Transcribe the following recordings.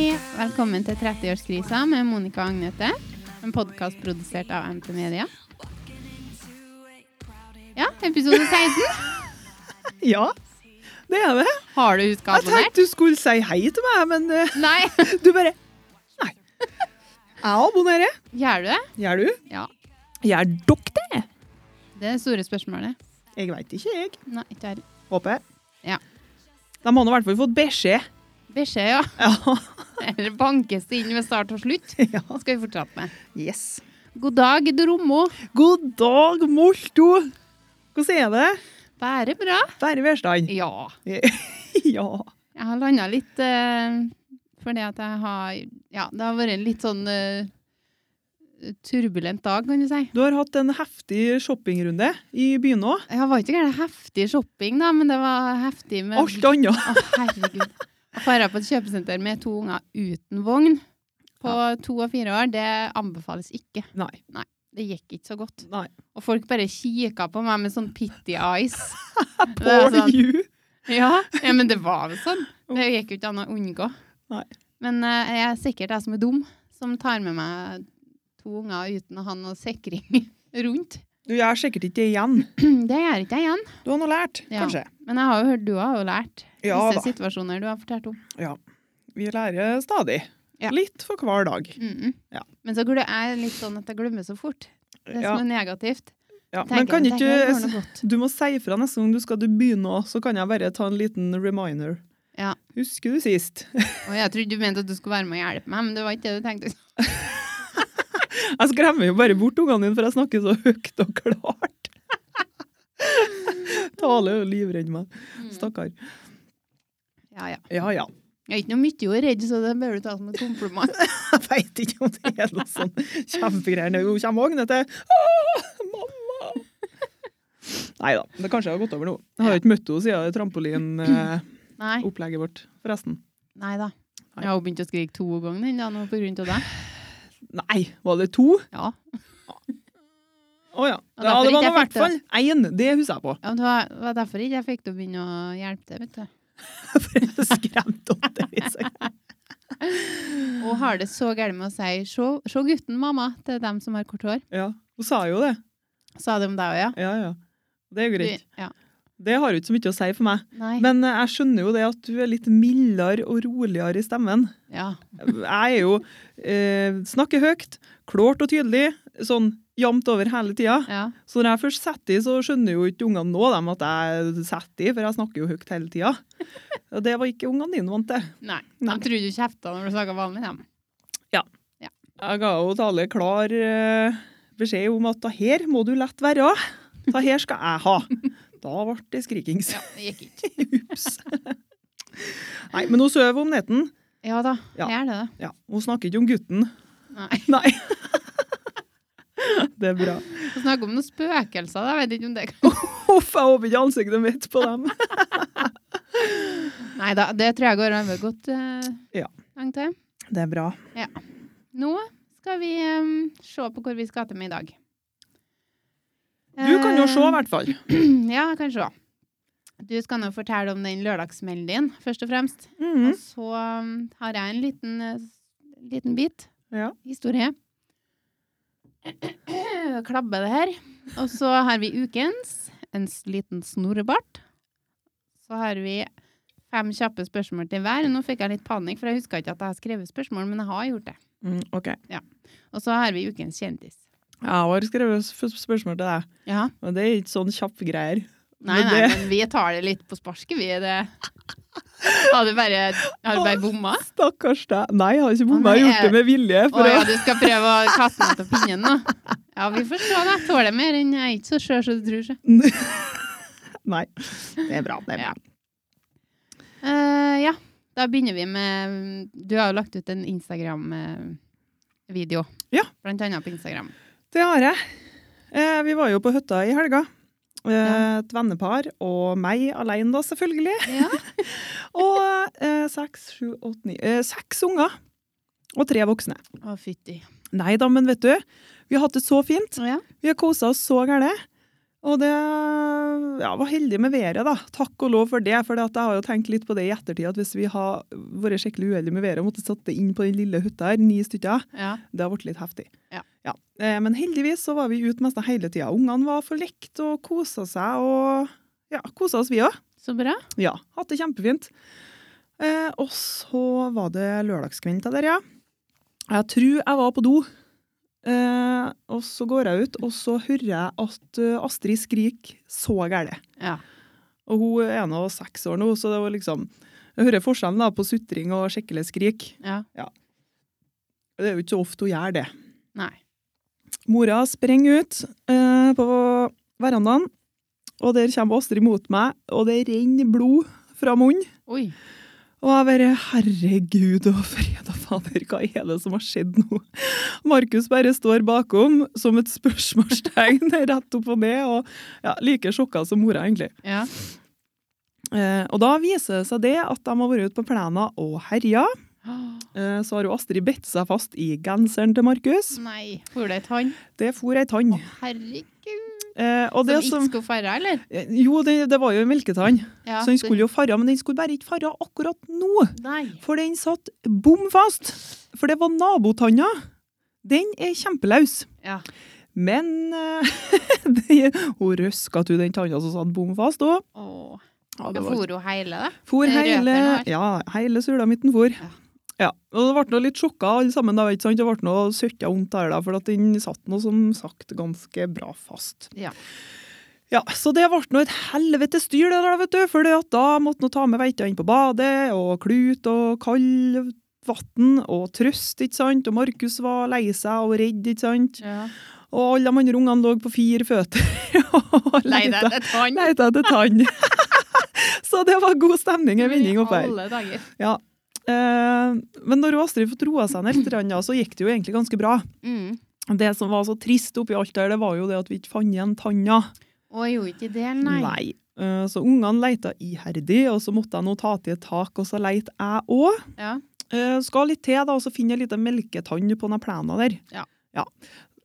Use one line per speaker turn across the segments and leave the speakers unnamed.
velkommen til 30-årskrisa med Monica og Agnete. En podkast produsert av MT Media. Ja, episode 16.
Ja, det er det.
Har du huska
Jeg
abonnert?
tenkte du skulle si hei til meg, men eh,
Nei.
du bare Nei. Jeg abonnerer.
Gjør du det?
Gjør du?
Ja.
Gjør dere det?
Det er det store spørsmålet.
Jeg veit ikke, jeg.
Nei, ikke heller.
Håper jeg.
Ja.
De har nå i hvert fall fått beskjed.
Beskjed, ja.
Ja.
Eller bankes det inn ved start og slutt?
ja.
Hva skal vi fortsette med?
Yes.
God dag, Dromo.
God dag, Molto. Hvordan er det?
Bare bra?
Bare velstand.
Ja.
Ja.
Jeg har landa litt eh, fordi at jeg har Ja, det har vært en litt sånn eh, turbulent dag, kan du si.
Du har hatt en heftig shoppingrunde i byen òg.
Jeg var ikke gæren heftig shopping, da, men det var heftig med
Alt annet.
Å, herregud. Å fare på et kjøpesenter med to unger uten vogn på to og fire år, det anbefales ikke.
Nei.
Det gikk ikke så godt.
Nei.
Og folk bare kikka på meg med sånn pitty eyes. Det er
Poor
sånn-
you.
Ja, ja, men det var vel sånn. Det gikk jo ikke an å unngå.
Nei.
Men eh, jeg er sikkert jeg som er dum, som tar med meg to unger uten å ha noe sikring rundt.
Du gjør sikkert ikke det igjen.
Det gjør ikke jeg igjen.
Du har nå lært,
Ja.
kanskje.
Men jeg har jo hørt du har jo lært
Ja
visse
da.
situasjoner du har fortalt om.
Vi lærer stadig.
Ja.
Litt for hver dag.
Mm -mm.
Ja.
Men så glem- jeg er litt sånn at jeg glemmer så fort. Det
Ja,
som er negativt.
ja.
tenker
Men kan
jeg, det her går
ikke
noe godt.
Du må si ifra neste gang du skal til byen òg, så kan jeg bare ta en liten reminder.
Ja.
Husker du sist?
Og jeg trodde du mente at du skulle være med og hjelpe meg, men det var ikke det du tenkte.
Jeg skremmer jo bare bort ungene dine, for jeg snakker så høyt og klart. Tale er jo livredd meg.
Mm.
Stakkar.
Ja, ja.
Ja ja.
Jeg er ikke noe mye å redd, så det bør du ta som et kompliment.
Jeg veit ikke om det er noe sånn kjempegreier når hun kommer Agnete. Åh, Mamma! Nei da, det kanskje har gått over nå. Jeg har jo ikke møtt henne siden eh, trampolinopplegget
Nei,
vårt, forresten.
nei da. Jeg har jo begynt å skrike to ganger den dagen på grunn av deg.
Nei, var det to?
Ja.
Å ja.
Og
ja.
derfor
Det var
ikke
nå i
jeg fikk
hvert fall én. Det husker jeg på.
ja men det var, var derfor ikke jeg fikk til å begynne å hjelpe til, vet du.
For jeg er skremt opp det viset.
Og har det så gærent med å si 'se se gutten, mamma' til dem som har kort hår.
Ja, hun sa jo det.
Sa de det òg, ja?
Ja, ja. Det er jo greit.
Du- ja.
Det har jo ikke så mye å si for meg.
Nei.
Men eh, jeg skjønner jo det at du er litt mildere og roligere i stemmen.
Ja.
Jeg er jo eh, snakker høyt, klart og tydelig, sånn jevnt over hele tida.
ja.
Så når jeg først setter i, så skjønner jo ikke ungene nå dem at jeg setter i, for jeg snakker jo høyt hele tida. Og det var ikke ungene dine vant til.
Nei.
Nei.
De trodde du kjefta når du snakka vanlig, dem.
Jeg ga jo Tale klar eh, beskjed om at da her må du lett være. Da her skal jeg ha. Da ble det skrikings.
Ja, det gikk ikke.
Ups. Nei, men hun sover om netten.
Ja da,
Ja.
jeg er det, da.
Ja, hun snakker ikke om gutten.
Nei.
Nei. Det er bra.
Vi snakker om noen spøkelser, da. Jeg vet ikke om det kan
Huff, jeg håper ikke ansiktet mitt på dem.
Nei da, det tror jeg går over godt eh,
Ja.
lang tid.
Det er bra.
Nå skal vi eh, se på hvor vi skal til med i dag.
Du kan jo se, i
Eh,
hvert fall.
Ja, jeg kan se. Du skal nå fortelle om den lørdagsmelden din, først og fremst.
Mhm.
Og så um, har jeg en liten, eh, liten bit
Ja.
historie. Klabbe det her. Og så har vi ukens, en s- liten snorrebart. Så har vi fem kjappe spørsmål til hver. Nå fikk jeg litt panikk, for jeg huska ikke at jeg har skrevet spørsmål, men jeg har gjort det.
Mm, OK.
Og så har vi ukens kjendis.
Jeg har skrevet sp- spørsmål til deg,
Ja.
men det er ikke sånn kjappe greier.
Nei,
Men
nei,
det-
men vi tar det litt på sparket, vi. Det har du bare, har du bare bomma?
Stakkars deg. Nei, jeg har ikke
Å,
bomma.
nei,
Jeg har gjort
jeg-
det med vilje.
Å
For
ja,
å...
du skal prøve å kaste meg til pinnen nå? Ja, vi får se. da. Jeg tåler mer enn jeg er ikke så skjør som du tror. seg.
Nei. Det er bra. Det er bra.
Eh, ja, da begynner vi med Du har jo lagt ut en Instagram-video.
Ja.
Blant annet på Instagram.
Det har jeg. Eh, vi var jo på hytta i helga. Eh,
Ja.
Et vennepar og meg alene, da, selvfølgelig.
Ja.
Og eh, seks, sju, åtte, ni eh, Seks unger. Og tre voksne.
Å, fytti.
Nei da, men vet du. Vi har hatt det så fint.
Å ja.
Vi har kosa oss så gærent. Og det ja, var heldig med været, da. Takk og lov for det. For jeg har jo tenkt litt på det i ettertid, at hvis vi har vært skikkelig uheldige med været og måtte satt det inn på den lille hytta her, ni stykker,
Ja.
det har blitt litt heftig.
Ja.
Eh, Men heldigvis så var vi ute nesten hele tida. Ungene var forlekt og kosa seg, og ja, kosa oss vi òg.
Så bra.
Ja, hatt det kjempefint. Eh, og så var det lørdagskvelden til dere, ja. Jeg tror jeg var på do. Eh, og så går jeg ut, og så hører jeg at eh, Astrid skriker så gæle.
Ja.
Og hun er nå seks år nå, så det var liksom Jeg hører forskjellen da på sutring og skikkelig skrik.
ja.
Det er jo ikke så ofte hun gjør det.
Nei.
Mora sprenger ut eh, på verandaen, og der kommer Astrid mot meg, og det renner blod fra munnen.
Oi.
Og jeg bare Herregud og fred og fader, hva er det som har skjedd nå? Markus bare står bakom som et spørsmålstegn rett opp og ned, og ja, like sjokka som mora, egentlig.
Ja.
Eh, og da viser det seg det at de har vært ute på plena og herja.
Åh,
Eh, så har jo Astrid bitt seg fast i genseren til Markus.
Nei. Får det ei tann?
Det for ei tann.
Herregud.
Eh, og
Som
det
ikke
som
skulle fare, eller?
Jo, det, det var jo en melketann,
Ja,
så
det-
den skulle jo fare, men den skulle bare ikke fare akkurat nå.
Nei.
For den satt bom fast. For det var nabotanna. Den er kjempelaus.
Ja.
Men eh, det- hun røska til den tanna som satt bom fast òg.
Åh.
Ja, det
Jeg
var-
for jo hele, da.
for
røper den
hele,
her.
ja, hele sulamitten for.
Ja.
Ja, og Det ble nå litt sjokka alle sammen. da, ikke sant? Det ble noe søkka vondt der, da, for at den satt nå som sagt ganske bra fast.
Ja.
Ja, Så det ble nå et helvetes styr, det der, vet du. For da måtte nå ta med veita inn på badet, og klut og kald vann og trøst, ikke sant. Og Markus var lei seg og redd, ikke sant.
Ja.
Og alle de andre ungene lå på fire føtter og
Nei, det
leita
er tann.
leita etter tann. så det var god stemning og vending oppe her.
Alle dager.
Eh, men når Astrid fikk roa seg ned litt, grann, ja, så gikk det jo egentlig ganske bra.
Mm.
Det som var så trist oppi alt der, det var jo det at vi ikke fant igjen tanna.
Og jeg gjorde ikke det, nei.
Eh, Så ungene leita iherdig, og så måtte jeg nå ta til et tak, og så leita jeg òg.
Ja.
Skal litt til, da, og så finner jeg en liten melketann på den plena der.
Ja.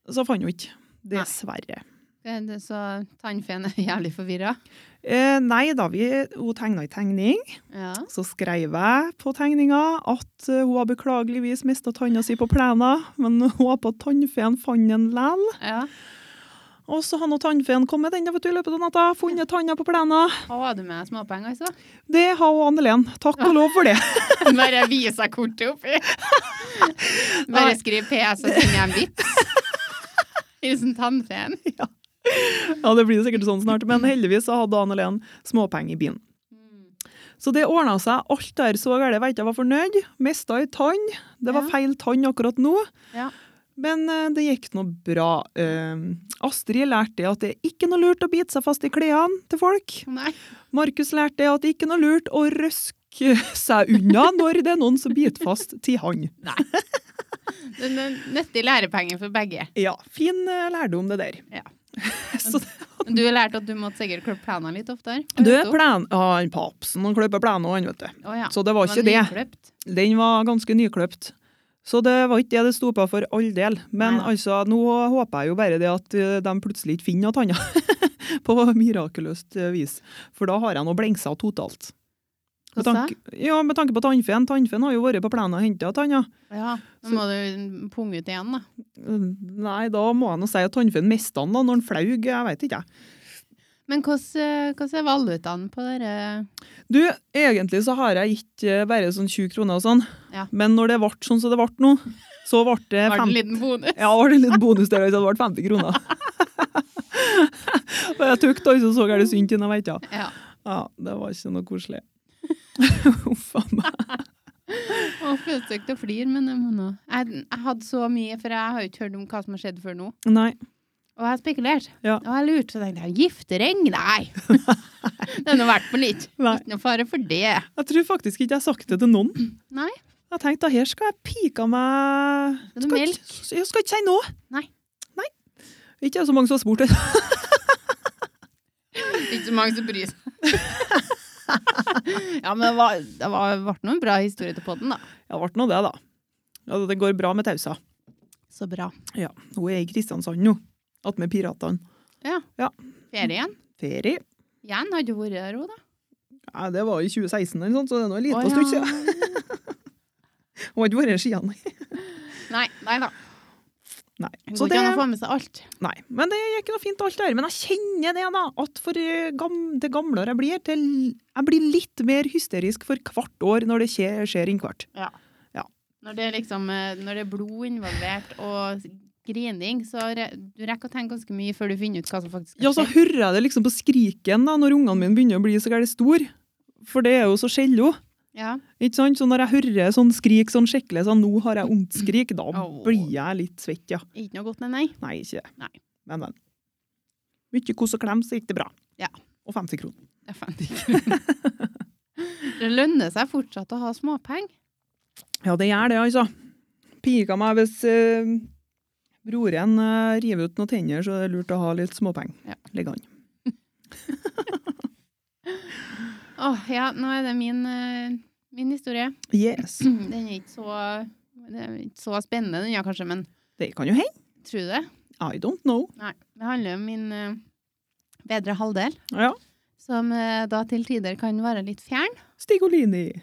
Så fant hun ikke. Dessverre.
Det- Eh, det- Så tannfeen er jævlig forvirra.
Eh, nei da, vi, hun tegna ei tegning.
Ja.
Så skrev jeg på tegninga at eh, hun har beklageligvis mista tanna si på plena, men håpa at tannfeen fant den lell.
ja.
Og så har nå tannfeen kommet den da, vet du, i løpet av natta, funnet tanna på plena.
Har du med småpenger, altså?
Det har hun Annelen. Takk og lov for det.
Bare vis deg kortet oppi. Bare
Nei.
skriv PS og send en vits. Hilsen tannfeen.
Ja, det blir sikkert sånn snart, men heldigvis så hadde Annelen småpenger i bilen.
Mm.
Så det ordna seg. Alt der så galt. Jeg vet ikke, jeg var fornøyd. Mista ei tann. Det var
Ja.
feil tann akkurat nå.
Ja.
Men eh, det gikk nå bra. Eh, Astrid lærte at det er ikke noe lurt å bite seg fast i klærne til folk.
Nei.
Markus lærte at det ikke er noe lurt å røske seg unna når det er noen som biter fast til han.
Det er nyttig lærepenger for begge.
Ja, fin eh, lærdom det der.
Ja.
Så det-
Du har lært at du måtte sikkert klippe plena litt oftere.
du, plen, ah, han papsen han kløper plenen han, vet du.
Å ja.
Så det var ikke det.
nykløpt.
Den var ganske nykløpt. Så det var ikke det det sto på for all del. Men
Nei.
altså, nå håper jeg jo bare det at eh, de plutselig ikke finner noe annet. på mirakuløst eh, vis. For da har jeg nå blengsa totalt.
Hva
Med
sa?
tanke, ja, med tanke på tannfeen. Tannfeen har jo vært på plenen og henta tanna.
Ja. Nå må du punge ut igjen, da.
Nei, da må jeg nå si at tannfeen mista han da, når han flaug. Jeg vet ikke, jeg.
Men hvordan eh, hvordan er valutaen på dere?
Du, egentlig så har jeg gitt eh, bare sånn 20 kroner og sånn,
Ja.
men når det ble sånn som det ble nå, så ble det
Har du en
50
liten bonus?
Ja, var det litt bonus der, altså, det ble 50 kroner. Og jeg tok da, så så jeg det synd til henne, vet jeg.
Ja.
Ja, det var ikke noe koselig. Uff a meg.
Og fløtesøkt og flir, men jeg må nå jeg, jeg hadde så mye, for jeg har jo ikke hørt om hva som har skjedd før nå.
Nei.
Og jeg spekulerte.
Ja.
Og jeg lurte, så tenkte jeg giftering? Nei! det er nå i hvert fall ikke.
Nei.
Ikke noe fare for det.
Jeg tror faktisk ikke jeg har sagt det til noen.
Nei.
Jeg tenkte, da, her skal jeg pika meg
Det er noe
ikke- Jeg skal ikke si noe.
Nei.
Nei. Ikke så mange som har spurt det.
Ikke så mange som bryr seg. ja, men det, var, det var, ble noen bra historier til podden, da.
Ja, det ble nå det, da. Ja, det går bra med Tausa.
Så bra.
Hun er i Kristiansand nå, attmed piratene.
Ferien.
Ferie.
Jan hadde jo vært der òg, da.
Ja, det var i 2016, eller sånt, så det er nå en liten
Å,
stund
ja.
siden. Hun har ikke vært her siden. nei.
Nei, nei da.
Nei.
Det
Så
går
det,
ikke an å få med seg alt.
nei. Men det gikk nå fint, alt det her. Men jeg kjenner det, da. At for eh, gam, det gamlere jeg blir, til jeg blir litt mer hysterisk for hvert år når det skjer, skjer innkvart.
Når det, er liksom, eh, når det er blod involvert og grining, så re du rekker å tenke ganske mye før du finner ut hva som faktisk
Ja, så hører jeg det liksom på skriken da, når ungene mine begynner å bli så gærent store. For det er jo så skjello.
Ja.
Ikke sant? Så når jeg hører sånn skrik, sånn skikkelig sånn 'nå har jeg vondt'-skrik, da
Au.
blir jeg litt svett, ja.
Ikke noe godt, nei, nei.
Nei, ikke det.
Nei.
Men, men. Mye kos og klem, så gikk det bra.
Ja.
Og 50 kroner.
Jeg fant ikke Det lønner seg fortsatt å ha småpenger.
Ja, det gjør det, altså. Pika meg hvis eh, broren eh, river ut noen tenner, så er det lurt å ha litt småpenger.
Ja.
Ligger an.
Åh, ja, nå er det min, eh, min historie.
Yes.
Den er ikke så, den er ikke så spennende, den ja, kanskje, men
Det kan jo hende.
tror du det?
I don't know.
Nei. Det handler om min eh, bedre halvdel,
Ja.
som eh, da til tider kan være litt fjern.
Stigolini.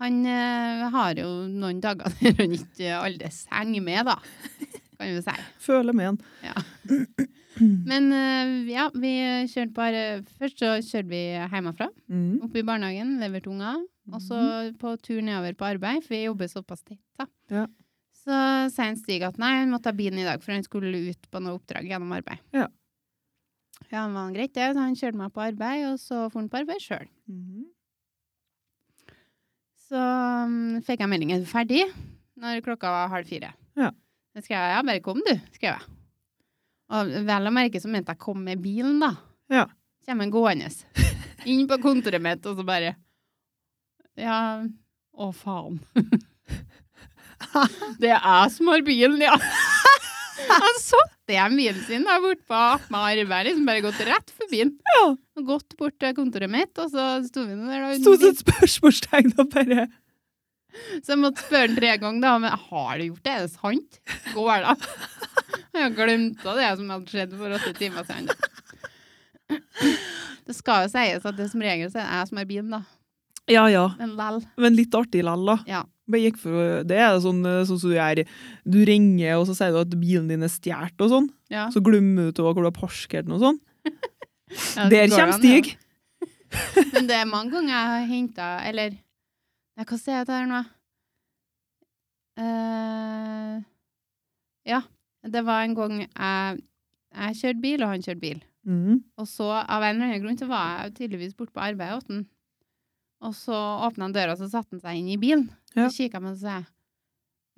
Han eh, har jo noen dager der han ikke aldes henger med, da. Kan vi si.
Føler med en.
Men eh, ja, vi kjørte bare Først så kjørte vi hjemmefra.
Mm.
Oppe i barnehagen, leverte unger. Og så på tur nedover på arbeid, for vi jobber såpass tett. da.
Ja.
Så sa en Stig at nei, han måtte ta bilen i dag, for han skulle ut på noe oppdrag gjennom arbeid.
Ja.
Ja, han var greit, det. Så han kjørte meg på arbeid, og så for han på arbeid sjøl.
Mm.
Så mm, fikk jeg meldingen ferdig når klokka var halv fire.
Ja.
Da skrev jeg ja, bare kom du, skrev jeg. Og vel å merke så mente jeg kom med bilen, da.
Ja.
Kjem en gående inn på kontoret mitt, og så bare Ja, å faen. Det er jeg som har bilen, ja. Han satte igjen bilen sin da, bort på med arbeid, liksom bare gått rett forbi den.
Ja.
Og gått bort til kontoret mitt, og så sto vi nå der da.
Stod det et spørsmålstegn og bare
Så jeg måtte spørre han tre ganger, da. Men har du gjort det? Er det sant? Går det? Jeg har glemt av det som hadde skjedd for åtte timer siden. Da. Det skal jo sies at det som regel så er det jeg som er bilen, da.
Ja, ja.
Men lell.
Men litt artig lall, da.
Ja.
Bare gikk for, det er sånn eh, sånn som du gjør Du ringer, og så sier du at bilen din er stjålet og sånn.
Ja.
Så glemmer du til hvor du har parkert den og sånn.
Ja, det
Der
går an,
kommer
ja.
Stig!
Men det er mange ganger jeg har henta Eller Nei, hva sier jeg til det her nå? Eh, ja. Det var en gang jeg, jeg kjørte bil, og han kjørte bil.
Mm.
Og så, av en eller annen grunn, så var jeg jo tydeligvis borte på arbeid hos han. Og så åpna han døra, så satte han seg inn i bilen.
Ja.
Så kikka han og sa jeg,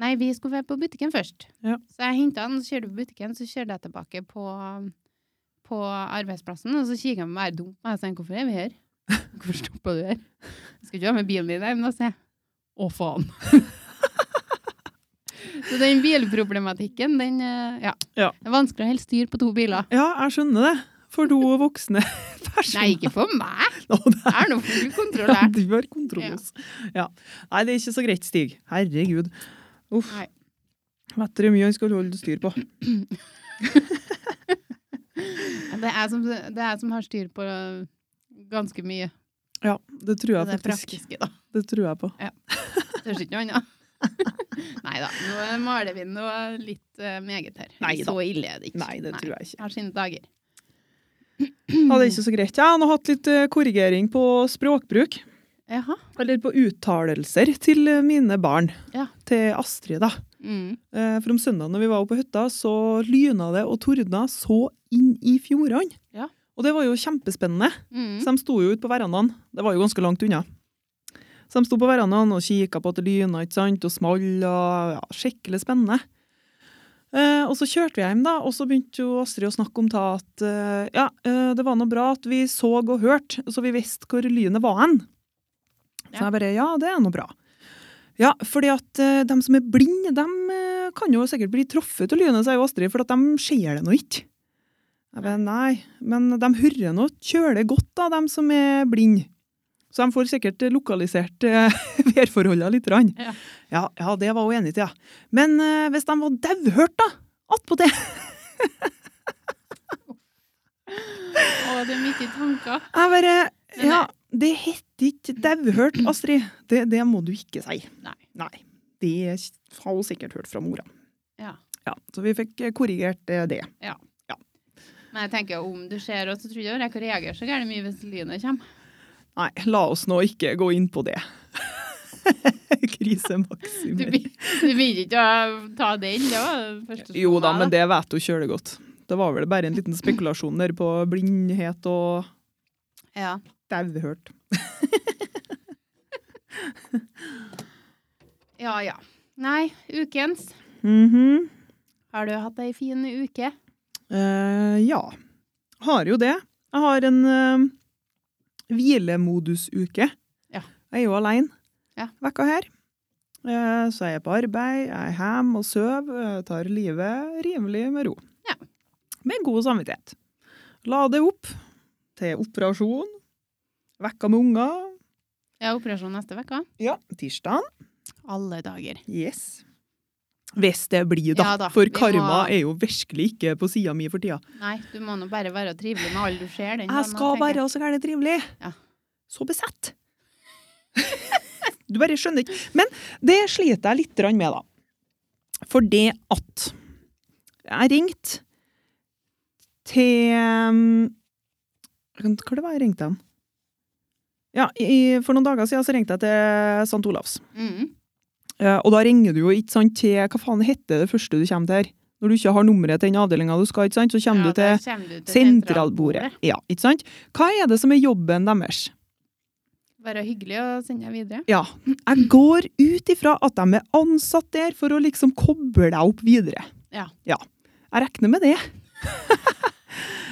Nei, vi skulle være på butikken først.
Ja.
Så jeg henta han, så kjørte vi på butikken, så kjørte jeg tilbake på, på arbeidsplassen. Og så kikka han bare dumt på meg og sa Hvorfor er vi her? Hvorfor stoppa du her? Jeg skal ikke være med bilen din hjem, da, sa jeg. Å, faen. så den bilproblematikken, den eh, ja.
Ja.
Det er vanskelig å holde styr på to biler.
Ja, jeg skjønner det. For to voksne
Nei,
personer.
ikke for meg.
Å, det
er noe full kontroll
ja,
her.
du har kontroll,
Ja.
altså. Ja. Nei, det er ikke så greit, Stig. Herregud. Uff.
Nei.
Vet dere hvor mye han skal holde styr på?
Det er jeg som, det er jeg som har styr på øh, ganske mye.
Ja, det tror
Det
jeg
er
faktisk.
praktiske, da.
Det tror jeg på.
Tør ikke noe annet. Nei da, nå maler vi noe litt øh, meget her.
Neida.
Så ille er det ikke.
Nei, det tror jeg ikke.
Har sine dager.
Ja, det er ikke så greit. Jeg har nå hatt litt eh, korrigering på språkbruk.
Jaha.
Eller på uttalelser til eh, mine barn.
Ja.
Til Astrid, da.
Mm.
Eh, For om søndagen når vi var oppe på hytta, så lyna det og tordna så inn i fjordene.
Ja.
Og det var jo kjempespennende.
Mm.
Så de sto jo ute på verandaen. Det var jo ganske langt unna. Så de sto på verandaen og kikka på at det lyna, ikke sant, og small og ja, skikkelig spennende. Eh, og så kjørte vi hjem, da, og så begynte jo Astrid å snakke om ta at eh, ja, eh, det var nå bra at vi så og hørte, så vi visste hvor lynet var hen. Så
Ja.
jeg bare ja, det er nå bra. Ja, fordi at eh, de som er blinde, de eh, kan jo sikkert bli truffet av lynet, sier jo Astrid, for at de ser det nå ikke. Jeg bare, nei, men de hører nå kjølig godt, da, de som er blinde. Så de får sikkert eh, lokalisert eh, værforholdene litt. grann.
Ja.
Ja, ja, det var hun enig til, ja. Men eh, hvis de var dauhørt, da? Attpåtil!
og det er mye tanker.
Jeg bare
Men
Ja, det heter ikke dauhørt, Astrid. Det, det må du ikke si.
Nei.
Nei. Det har hun sikkert hørt fra mora.
Ja.
Ja, så vi fikk korrigert eh, det.
Men jeg tenker om du ser oss, så tror jeg jeg rekker å reagere så gærent mye hvis lynet kommer.
Nei, la oss nå ikke gå inn på det.
Du
Krisemaksimer.
begynner du begynner ikke å ta den, det var det første som
Jo da,
var,
men det vet du kjølig godt. Det var vel bare en liten spekulasjon der på blindhet og
Ja.
dauhørt.
ja ja. Nei, ukens.
Mhm.
Har du hatt ei fin uke?
Eh, ja. Har jo det. Jeg har en eh, hvilemodusuke.
Ja.
Jeg er jo alene
Ja.
vekka her. Eh, så jeg er på arbeid, jeg er hjemme og sover. eh, Tar livet rimelig med ro.
Ja.
Med god samvittighet. Lade opp til operasjon. Vekka med unger.
Ja, operasjon neste uke.
Ja, tirsdag.
Alle dager.
Yes. Hvis det blir, da.
Ja da,
For
vi
karma
må-
er jo virkelig ikke på sida mi for tida.
Nei, du må nå bare være trivelig med alle du ser. Den
Jeg
dagen,
skal
tenker
være så gærent trivelig.
Ja.
Så besett. du bare skjønner ikke. Men det sliter jeg litt grann med, da. For det at jeg ringte til um, Hva det var jeg ringte til? Ja, i, for noen dager siden så ringte jeg til St. Olavs.
Mhm.
Eh, og da ringer du jo ikke sant, til Hva faen heter det første du kommer til her? Når du ikke har nummeret til den avdelinga du skal, ikke sant, så kommer
Ja,
du
da
til
kommer du til
Sentralbordet. Ja, ikke sant? Hva er det som er jobben deres?
Være hyggelig og sende deg videre.
Ja, jeg går ut ifra at de er ansatt der for å liksom koble deg opp videre.
Ja.
Jeg regner med det.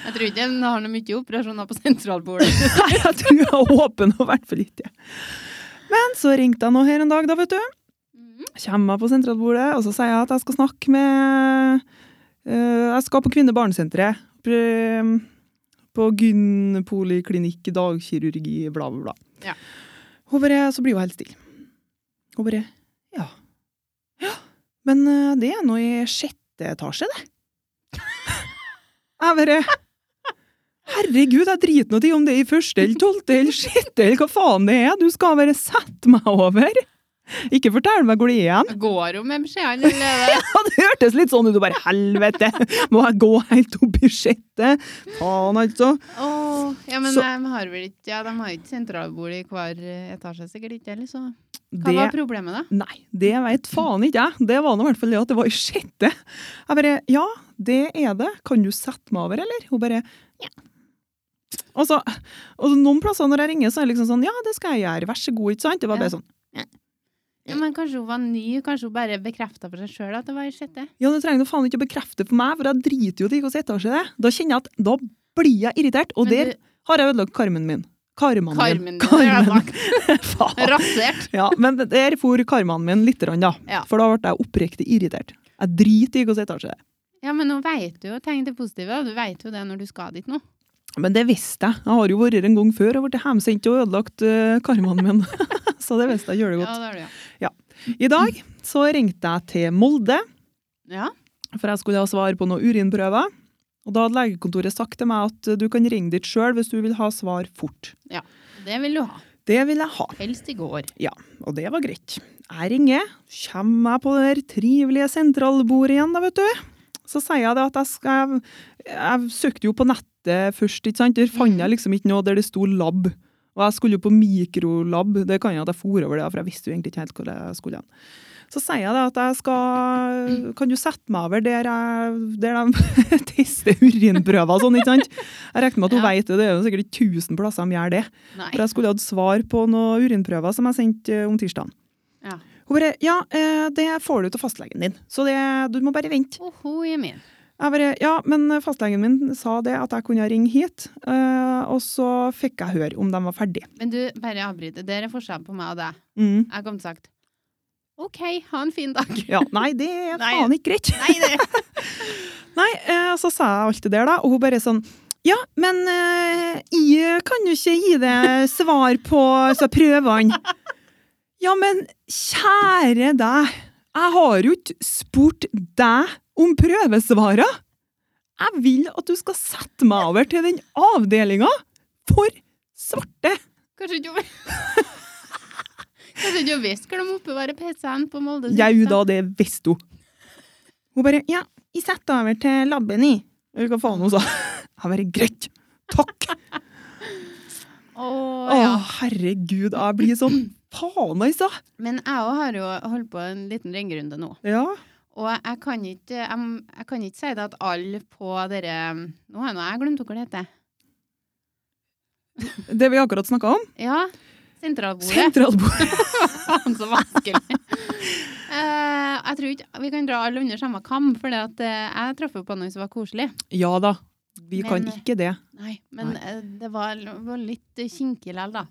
Jeg tror ikke den har noe mye operasjoner på sentralbordet.
Nei, jeg tror jeg er åpen, og i hvert fall ikke. Men så ringte jeg nå her en dag, da, vet du.
Mhm.
Kommer jeg på sentralbordet, og så sier jeg at jeg skal snakke med eh, Jeg skal på Kvinnebarnesenteret. Pre- På gynpoliklinikk, dagkirurgi, bla, bla, bla.
Ja.
Hun bare, så blir hun helt stille. Hun bare Ja. Ja, men eh, det er nå i sjette etasje, det. Jeg bare Herregud, jeg driter nå i om det er i første eller tolvte eller sjette eller hva faen det er. Du skal bare sette meg over. Ikke fortell meg hvor det er hen.
Går hun med beskjeden, eller?
Ja, det hørtes litt sånn ut. Og bare helvete! Må jeg gå helt opp i sjette? Faen, altså.
Åh, ja, men
Så-
de har vel ikke Ja, de har ikke sentralbord i hver eh, etasje, sikkert ikke, eller så Hva var
Det
problemet, da?
Nei, det veit faen ikke jeg. Det var nå i hvert fall det at det var i sjette. Jeg bare Ja, det er det. Kan du sette meg over, eller? Hun bare Ja. Og så, og så noen plasser når jeg ringer, så er det liksom sånn Ja, det skal jeg gjøre. Vær så god, ikke sant? Det var
Ja.
bare sånn
Ja, men kanskje hun var ny, kanskje hun bare bekrefta for seg sjøl at det var i sjette?
Ja, du trenger du faen ikke å bekrefte for meg, for jeg driter jo i hvilken etasje det er. Da kjenner jeg at da blir jeg irritert, og
Men
der
du-
har jeg ødelagt karmen min. Karmen
Karmen
min.
din, har jeg
Faen.
Rasert!
Ja, men der for karmen min litt, rann, da.
Ja.
For da ble jeg oppriktig irritert. Jeg driter i hvilken etasje det er.
Ja, men nå veit du jo Tenk det positive, da. Du veit jo det når du skal dit nå.
Men det visste jeg. Jeg har jo vært her en gang før og blitt hjemsendt og ødelagt uh, karmen min. så det visste jeg gjør det
Ja,
godt.
det har du, ja.
I dag så ringte jeg til Molde.
ja.
for jeg skulle ha svar på noen urinprøver. Og da hadde legekontoret sagt til meg at du kan ringe dit sjøl hvis du vil ha svar fort.
Det vil du ha.
Det vil jeg ha,
Helst i går.
og det var greit. Jeg ringer, kommer jeg på det der trivelige sentralbordet igjen, da, vet du. Så sier jeg det at jeg skal Jeg søkte jo på nettet først, ikke sant. Der fant jeg liksom ikke noe der det sto lab. Og jeg skulle jo på mikrolab, det kan jeg at jeg for over det, for jeg visste jo egentlig ikke helt hvor jeg skulle hen. Så sier jeg det at jeg skal Kan du sette meg over der, jeg, der de tester urinprøver og sånn, ikke sant? Jeg regner med at hun
Ja.
vet det, det er jo sikkert ikke 1000 plasser de gjør det.
Nei.
For jeg skulle hatt svar på noen urinprøver som jeg sendte eh, om tirsdagen.
Ja.
Hun bare Ja, eh, det får du til fastlegen din, så det, du må bare vente.
Åh, hun er min.
Jeg bare, ja, men fastlegen min sa det at jeg kunne ringe hit, eh, og så fikk jeg høre om de var ferdige.
Men du, bare avbryte. Der er forskjellen på meg og deg.
Mm.
Jeg kom til sagt OK, ha en fin dag.
Ja, nei, det er
Nei.
faen ikke greit.
Nei, det
Nei, eh, så sa jeg alt det der da, og hun bare sånn, ja, men eh, jeg kan jo ikke gi deg svar på så prøvene. Ja, men kjære deg, jeg har jo ikke spurt deg om prøvesvarene. Jeg vil at du skal sette meg over til den avdelinga for svarte!
Kanskje ikke hun Kanskje ikke hun visste hvor de oppbevarer PC-en på Molde.
Jeg da det visste hun. Hun bare Ja, jeg setter deg over til labben, i. Eller hva faen hun sa. Jeg bare Greit! Takk!
Å,
Å,
ja.
herregud, jeg blir sånn faen i stad.
Men jeg òg har jo holdt på en liten ringerunde nå.
Ja.
Og jeg kan ikke, jeg, jeg kan ikke si det at alle på dere Nå har nå jeg glemt hva det heter.
Det vi akkurat snakka om.
Ja, sentralbordet.
Sentralbordet.
Faen, så vanskelig. Eh, jeg tror ikke vi kan dra alle under samme kam, for det at, eh, jeg traff jo på noen som var koselig.
Ja da. Vi
Men- eh,
kan ikke det.
Nei, men eh, det var, var litt eh, kinkig likevel, da.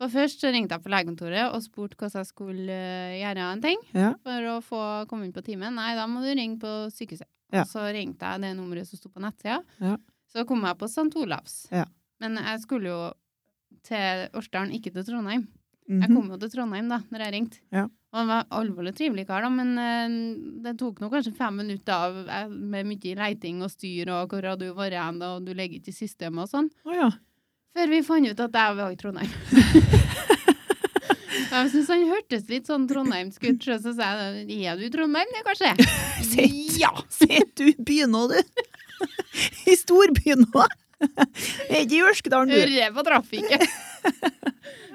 For først så ringte jeg på legekontoret og spurte hvordan jeg skulle eh, gjøre en ting
Ja.
for å få komme inn på timen. Nei, da må du ringe på sykehuset.
Ja.
Og så ringte jeg det nummeret som sto på nettsida.
Ja.
Så kom jeg på St. Olavs.
Ja.
Men jeg skulle jo til Årsdalen, ikke til Trondheim. Jeg
Mhm.
kom jo til Trondheim da når jeg ringte.
Ja.
Og han var alvorlig trivelig kar, da, men eh, det tok nå kanskje fem minutter av, eh, med mye leiting og styr og hvor har du vært hen, og du ligger ikke i systemet og sånn.
Å ja.
Før vi fant ut at jeg var i Trondheim. Jeg syns han hørtes litt sånn trondheimsk ut, så så sa jeg er du i Trondheim, det, kanskje?
Sitt, ja, sitt du i byen nå, du. I storbyen nå. Er ikke i Jørskdalen, du.
Hører på trafikken!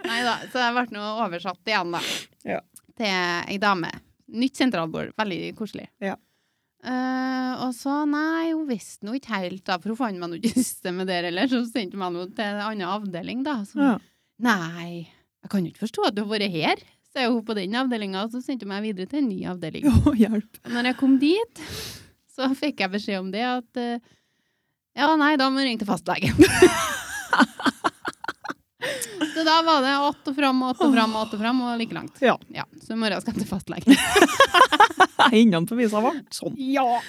Nei da, så jeg ble nå oversatt igjen, da.
Ja.
Til ei dame. Nytt sentralbord. Veldig koselig.
Ja.
Eh, og så, nei, hun visste nå ikke helt, da, for hun fant meg nå ikke i systemet der heller, så hun sendte meg nå til en annen avdeling, da. Så
Ja.
Nei, jeg kan jo ikke forstå at du har vært her, sier hun på den avdelinga, og så sendte hun meg videre til en ny avdeling.
Å, hjelp.
Og når jeg kom dit, så fikk jeg beskjed om det at eh, Ja, nei, da må du ringe til fastlegen. så da var det att og fram og att og fram og att og fram og like langt.
Ja.
Ja, så i morgen skal jeg til fastlegen.
Hendene på visa var sånn.
ja.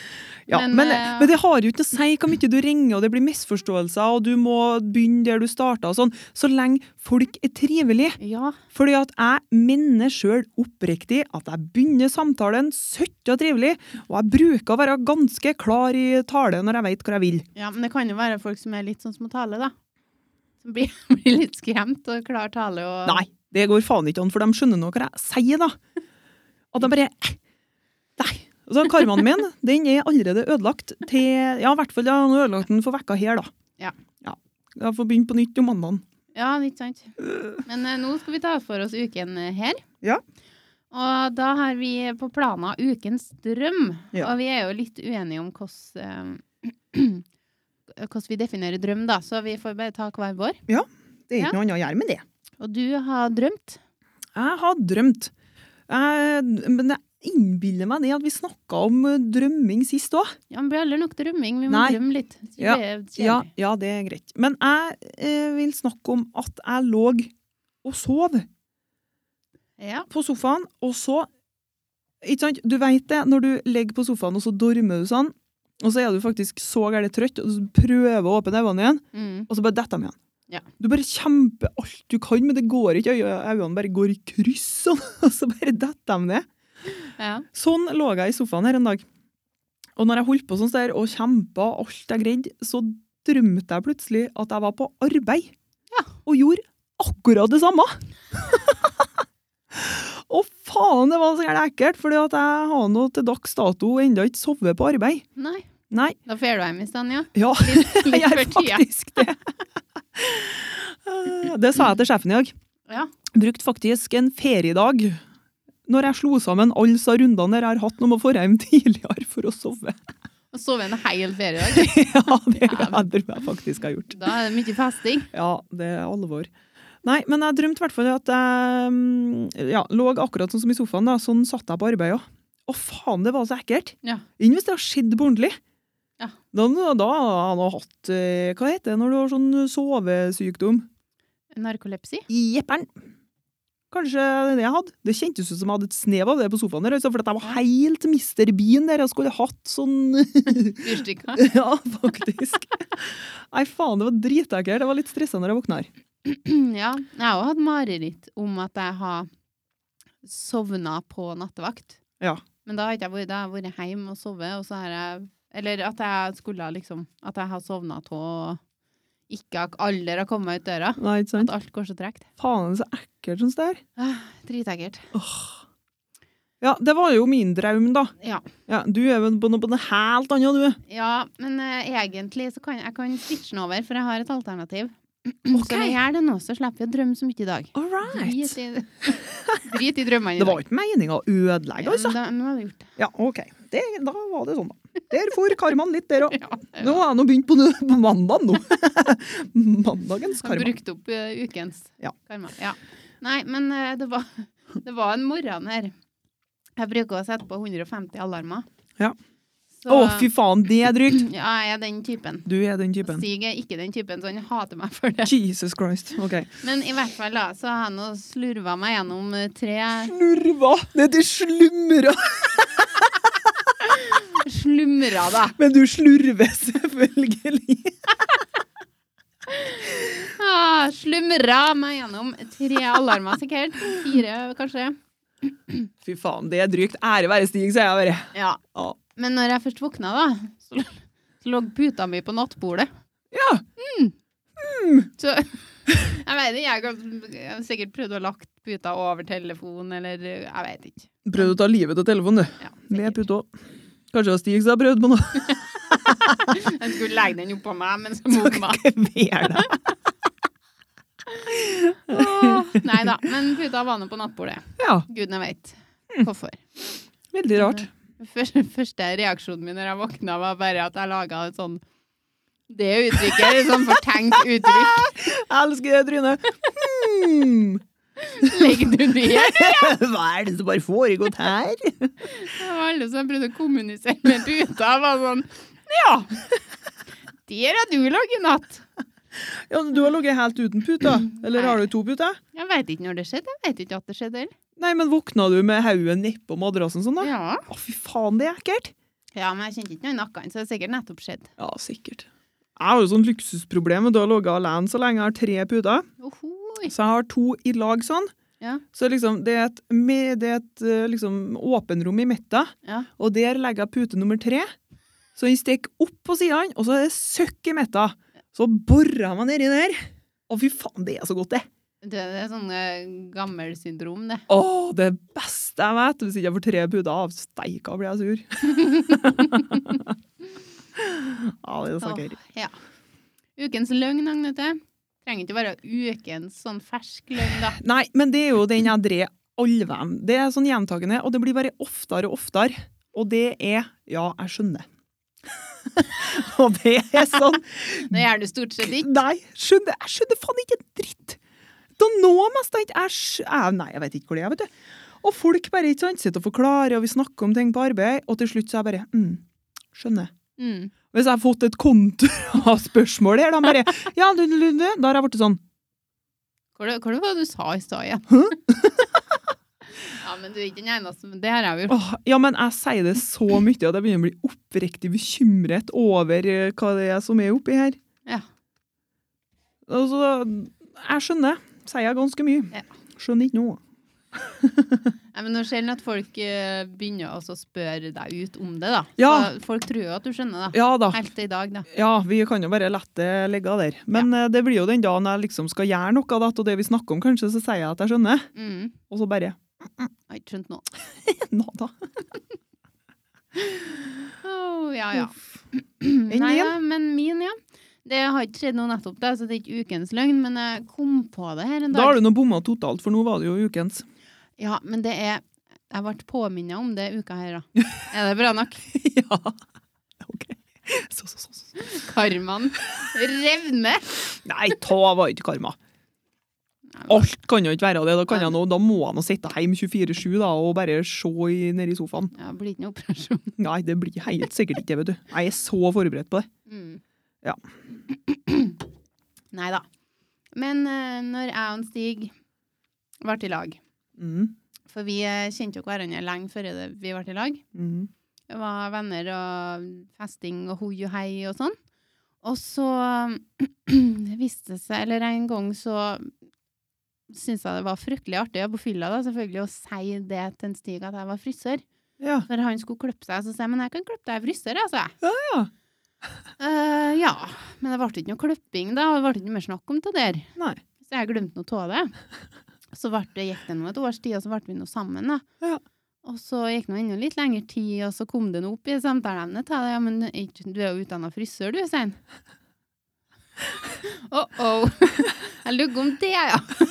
Ja,
Men,
men, men,
eh,
det har jo ikke noe å si hvor mye du ringer, og det blir misforståelser, og du må begynne der du starta og sånn. Så lenge folk er trivelige.
Ja.
Fordi at jeg minner sjøl oppriktig at jeg begynner samtalen søtt og trivelig, og jeg bruker å være ganske klar i tale når jeg veit hvor jeg vil.
ja, men det kan jo være folk som er litt sånn som å tale, da. Som blir, blir litt skremt og klar tale og
Nei, det går faen ikke an, for de skjønner nå hva jeg sier, da. Og de bare eh, Nei. Og så Karmaen min den er allerede ødelagt til Ja, i hvert fall ja, nå har jeg ødelagt den for vekka her, da.
Ja.
Jeg får begynne på nytt om mandagen.
Ja, ikke sant. Men eh, nå skal vi ta for oss uken eh, her.
Ja.
Og da har vi på plana ukens drøm.
Ja.
Og vi er jo litt uenige om hvordan eh, hvordan vi definerer drøm, da. Så vi får bare ta hver vår.
Det er
Ja.
ikke noe annet å gjøre med det.
Og du har drømt.
Jeg har drømt. Jeg, men jeg innbiller meg det at vi snakka om eh, drømming sist òg.
Ja, men det blir aldri nok drømming. Vi må
Nei.
drømme litt. Så
Ja.
det skjer.
Ja, ja, det er greit. Men jeg eh, vil snakke om at jeg lå og sov
ja.
på sofaen, og så ikke sant? Du veit det, når du ligger på sofaen og så dormer du sånn, og så er du faktisk så gærent trøtt, og så prøver å åpne øynene igjen,
Mm.
og så bare detter de igjen.
Ja.
Du bare kjemper alt du kan, men det går ikke. Øya- Øynene bare går i kryss, sånn, og så bare detter de ned.
ja.
Sånn lå jeg i sofaen her en dag. Og når jeg holdt på sånn der, og kjempa alt jeg greide, så drømte jeg plutselig at jeg var på arbeid.
Ja.
Og gjorde akkurat det samme! og faen, det var så gærent ekkelt, for jeg har nå til dags dato ennå ikke sovet på arbeid.
Nei.
Nei.
Da fer du hjem i stand, ja.
Ja,
Litt,
jeg
litt
gjør
før tida.
faktisk det. Eh, det sa jeg til sjefen i dag.
Ja.
Brukte faktisk en feriedag når jeg slo sammen alle disse rundene jeg har hatt om å få hjem tidligere for å sove.
Og sove en hel feriedag.
Ja, det tror jeg faktisk har gjort.
Da er det mye festing.
Ja, det er alvor. Nei, men jeg drømte i hvert fall at jeg mm, ja, lå akkurat sånn som i sofaen. da, Sånn satt jeg på arbeid òg. Å, faen, det var så ekkelt!
Ja.
Enn hvis det har skjedd på ordentlig.
Ja.
Da, da, da har han hatt eh, Hva heter det når du har sånn sovesykdom?
Narkolepsi.
Jepperen. Kanskje det er det jeg hadde. Det kjentes ut som jeg hadde et snev av det på sofaen. der, altså, For at jeg var helt Mr. Bean der. Jeg skulle hatt sånn
Fyrstikker.
Ja, faktisk. Nei, faen, det var dritekkelt. Det var litt stressa når jeg våkna her.
Ja, jeg har også hatt mareritt om at jeg har sovna på nattevakt.
Ja.
Men da har ikke jeg vært, da har jeg vært hjemme og sovet, og så har jeg Eller at jeg skulle liksom At jeg har sovna av og ikke ak- aldri har kommet meg ut døra.
Nei, ikke
At
sant?
alt går så tregt.
Faen, så ekkelt sånn der.
Ah, Dritekkelt.
Åh. Ja, det var jo min drøm, da.
Ja.
Ja, du er jo på noe, på noe helt annet, du.
ja, men eh, egentlig så kan jeg kan switche den over, for jeg har et alternativ.
Ok.
Så vi gjør det nå, så slipper vi å drømme så mye i dag.
All right.
Drit i, drit i drømmene i
Det
dag.
var ikke meninga å ødelegge, altså.
Ja, men da- nå har vi gjort det.
Ja, OK. Det, da var det sånn, da. Der for karmaen litt, der òg.
Ja,
Nå har jeg nå begynt på, nø- på mandag nå. Mandagens
Har
karma.
brukt opp eh, ukens
Ja.
karma. Ja. Nei, men eh, det var, det var en morgen her. Jeg bruker å sette på 150 alarmer.
Ja.
Så
Å, fy faen, det er drygt!
ja, jeg er den typen.
Du er den typen.
Stig er ikke den typen, så han hater meg for det.
Jesus Christ. OK.
Men i hvert fall da, så har han nå slurva meg gjennom eh, tre
Slurva ned til slumra.
slumra, da.
Men du slurver selvfølgelig.
Ah, slumra meg gjennom tre alarmer, sikkert. Fire, kanskje.
Fy faen, det er drygt. Ære være Stig, sier jeg bare.
Ja.
Ja.
Men når jeg først våkna, da, så, så lå puta mi på nattbordet.
Ja.
Så jeg vet ikke, jeg kan- jeg har sikkert prøvd å lagt puta over telefonen, eller jeg vet ikke.
Prøvd å ta livet av telefonen, du.
Ja,
Med
sikkert.
puta. Kanskje det var Stig som har prøvd på noe.
jeg skulle legge den oppå meg, men så mot meg.
Hver dag.
Åh, Nei da, men puta var nå på nattbordet.
Ja,
Gudene veit hvorfor.
veldig rart.
Første, første reaksjonen min når jeg våkna, var bare at jeg laga et sånn det uttrykket, et sånn fortenkt uttrykk.
Jeg elsker det trynet. Hmm.
Legger du ned?
Hva er det som bare foregått her?
Det var alle som prøvde å kommunisere med puta, var sånn Ja! Der har du ligget i natt.
Ja, du har ligget helt uten puta. Eller har du to puter?
Jeg veit ikke når det skjedde. Jeg veit ikke at det skjedde heller.
Nei, men våkna du med hodet nedpå madrassen sånn, da?
Ja.
Å, fy faen, det er ekkelt.
ja, men jeg kjente ikke noe i nakken, så det har sikkert nettopp skjedd.
Ja, sikkert. Jeg har jo sånn luksusproblem. Du har ligget alene så lenge jeg har tre puter.
Ohoi.
Så jeg har to i lag sånn.
Ja.
Så liksom, det er et, med, det er et eh, liksom, åpenrom i midten,
Ja.
og der legger jeg pute nummer tre. Så den stikker opp på sidene, og så er det søkk i midten. Så borer jeg meg nedi der. Å, fy faen, det er så godt, det.
Det, det er sånn eh, gammel syndrom, det.
Å, det beste jeg vet! Hvis ikke jeg får tre puter av, steika blir jeg sur. ja, det er saker.
Åh, ja. Ukens løgn, Agnete. Trenger ikke være ukens sånn fersk løgn, da.
Nei, men det er jo den jeg drev alvem. Det er sånn gjentagende, og det blir bare oftere og oftere. Og det er Ja, jeg skjønner. og det er sånn
Det gjør du stort sett ikke.
Nei, skjønner, jeg skjønner faen ikke en dritt! Da nå mest jeg ikke jeg skj- jeg- Nei, jeg vet ikke hvor det er, vet du. Og folk bare ikke sant, sitter og forklarer, og vi snakker om ting på arbeid, og til slutt så er jeg bare mm, Skjønner.
Mm.
Hvis jeg har fått et kontraspørsmål her, da bare Ja, du, du, du, du. Da har jeg blitt sånn
Hva det- hva det var det du sa i stad igjen? ja, men du er ikke den eneste. Men det har jeg gjort.
Åh, ja, men jeg sier det så mye at jeg begynner å bli oppriktig bekymret over eh, hva det er som er oppi her.
Ja.
Altså, jeg skjønner. Sier jeg ganske mye.
Ja.
Skjønner ikke noe.
Nei, men det er sjelden at folk eh, begynner også å spørre deg ut om det, da.
Ja.
Så folk tror jo at du skjønner, da.
Ja da.
Helt til i dag, da.
Ja, vi kan jo bare la det ligge der. Men eh, det blir jo den dagen jeg liksom skal gjøre noe av dette, og det vi snakker om, kanskje, så sier jeg at jeg skjønner.
Mm.
Og så bare
Jeg har ikke skjønt noe.
Nada.
Åh, Oh, ja, ja.
Uff.
Nei,
din?
ja, men min, ja. Det har ikke skjedd noe nettopp, da, så det er ikke ukens løgn, men jeg kom på det her en
Da har
dag.
du nå bomma totalt, for nå var det jo ukens.
Ja, men det er Jeg ble påminnet om det uka her, da. Er det bra nok?
ja. OK. Så, så, så, så.
Karmaen revner!
Nei, ta var ikke karma.
Nei, men-
Alt kan jo ikke være det. Da, kan jeg nå, da må jeg nå sitte hjemme 24-7 da, og bare se i- nedi sofaen.
Ja, det blir ikke noe operasjon.
Nei, det blir helt sikkert ikke det, vet du. Jeg er så forberedt på det.
Mm.
Ja.
Nei da. Men eh, når jeg og Stig ble i lag
Mm.
For vi eh, kjente jo hverandre lenge før det- vi ble i lag.
Mm.
Det var venner og festing og hoi og hei og sånn. Og så viste det seg, eller en gang så syntes jeg det var fryktelig artig, jeg på fylla da, selvfølgelig, å si det til en Stig at jeg var frisør.
Ja.
For han skulle klippe seg, så sa jeg men jeg kan klippe deg i bryster, altså.
ja.
Eh, ja. Men det ble ikke noe klipping da, og det ble ikke mer snakk om det der.
Nei.
Så jeg glemte noe av det. Så ble det, gikk det nå et års tid, og så ble vi nå sammen. da.
Ja.
Og så gikk det nå enda litt lengre tid, og så kom det nå opp i samtaleemnet til det. Ja, men er ikke- du er jo utdanna frisør, du, sier han. Oh-oh. Jeg lugger om det, ja.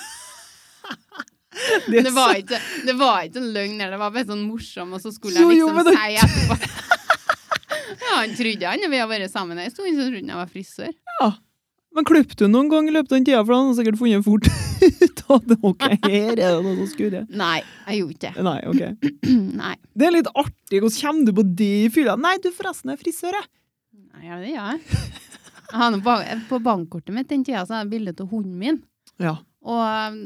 Det,
Det var ikke, det var ikke en løgn, det var bare sånn morsom, og så skulle jeg
Jo, jo,
liksom
men det-
si etterpå. Ja, han trodde han, og vi har vært sammen en stund, så trodde han jeg var frisør.
Men klipp du noen gang i løpet av den tida, for da hadde han sikkert funnet fort ut av det. Ok, her er det noe som skurrer.
Nei, jeg gjorde ikke det.
Nei, ok.
Nei.
Det er litt artig. Hvordan kommer du på det i fylla? Nei, du forresten er frisør, jeg.
Nei, ja, det gjør jeg. Jeg har noe ba- På bankkortet mitt den tida så har jeg bilde av hunden min.
Ja.
Og um,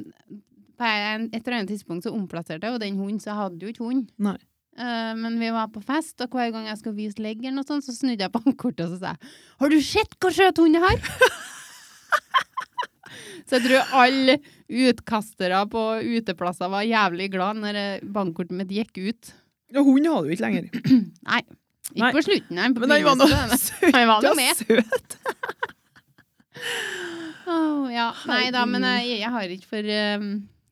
på en- et eller annet tidspunkt så omplasserte jeg jo den hunden, så jeg hadde jo ikke hund.
Nei.
Eh, men vi var på fest, og hver gang jeg skulle vise leggen, og sånn, så snudde jeg bankkortet og så sa jeg, Har du sett hvor søt hund jeg har? så jeg tror alle utkastere på uteplasser var jævlig glad når eh, bankkortet mitt gikk ut.
Ja, hun har du ikke lenger.
Nei. Ikke
Nei.
på slutten, nei. På
Men den var nå
begynnelsen,
søt.
Han var nå
ja,
med.
søt.
Åh, ja. Nei da, men jeg, jeg har ikke for um,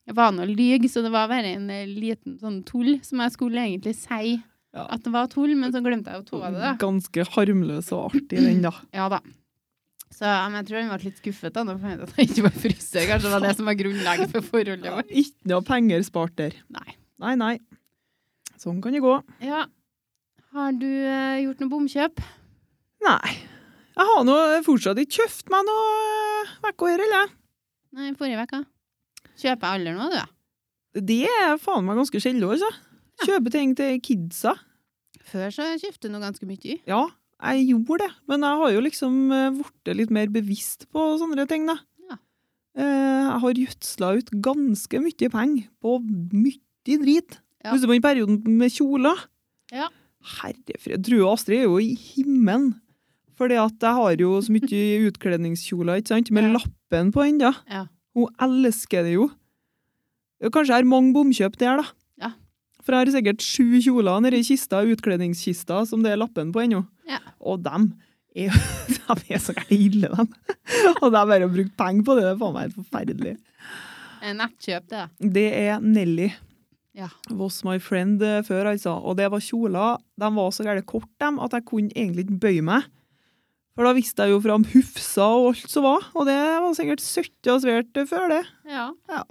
Jeg var nå lyg, så det var bare en eh, liten sånn tull som jeg skulle egentlig si
Ja.
at det var tull, men så glemte jeg å tove det. da.
Ganske harmløs og artig, den, da.
Ja da. Så ja, men jeg tror han ble litt skuffet da, når han fant ut at jeg ikke var frisør. Kanskje det var det som var grunnlaget for forholdet
Ja,
vårt.
ikke noe penger spart der.
Nei.
Nei, nei. Sånn kan det gå.
Ja. Har du eh, gjort noe bomkjøp?
Nei. Jeg har nå fortsatt ikke kjøpt meg noe uke her, eller?
Nei, forrige uke. Kjøper jeg aldri noe, du?
Det er faen meg ganske sjelden, altså. Kjøpe ting til kidsa.
Før så kjøpte du noe ganske mye.
Ja, jeg gjorde det, men jeg har jo liksom eh, blitt litt mer bevisst på sånne ting, da.
Ja.
Eh, Jeg har gjødsla ut ganske mye penger på mye drit.
Ja.
Husker du på den perioden med kjoler?
Ja.
Herrefred. Drue og Astrid er jo i himmelen. Fordi at jeg har jo så mye utkledningskjoler, ikke sant? Med
Ja.
lappen på ennå.
Ja.
Hun elsker det jo. Ja, Kanskje jeg har mange bomkjøp der, da.
Ja.
For jeg har sikkert sju kjoler nede i kista, utkledningskista, som det er lappen på ennå.
Ja.
Og dem er, dem er så gærent ille, dem. Og de har bare brukt penger på det. Det er faen meg helt forferdelig.
Eh, Nettkjøp, det. da.
Det er Nelly
Ja.
was my friend eh, før, altså. Og det var kjoler. De var så gærent kort, dem, at jeg kunne egentlig ikke bøye meg. For da visste jeg jo fram hufsa og alt som var, og det var sikkert søtt og svært eh, før det.
Ja.
Ja.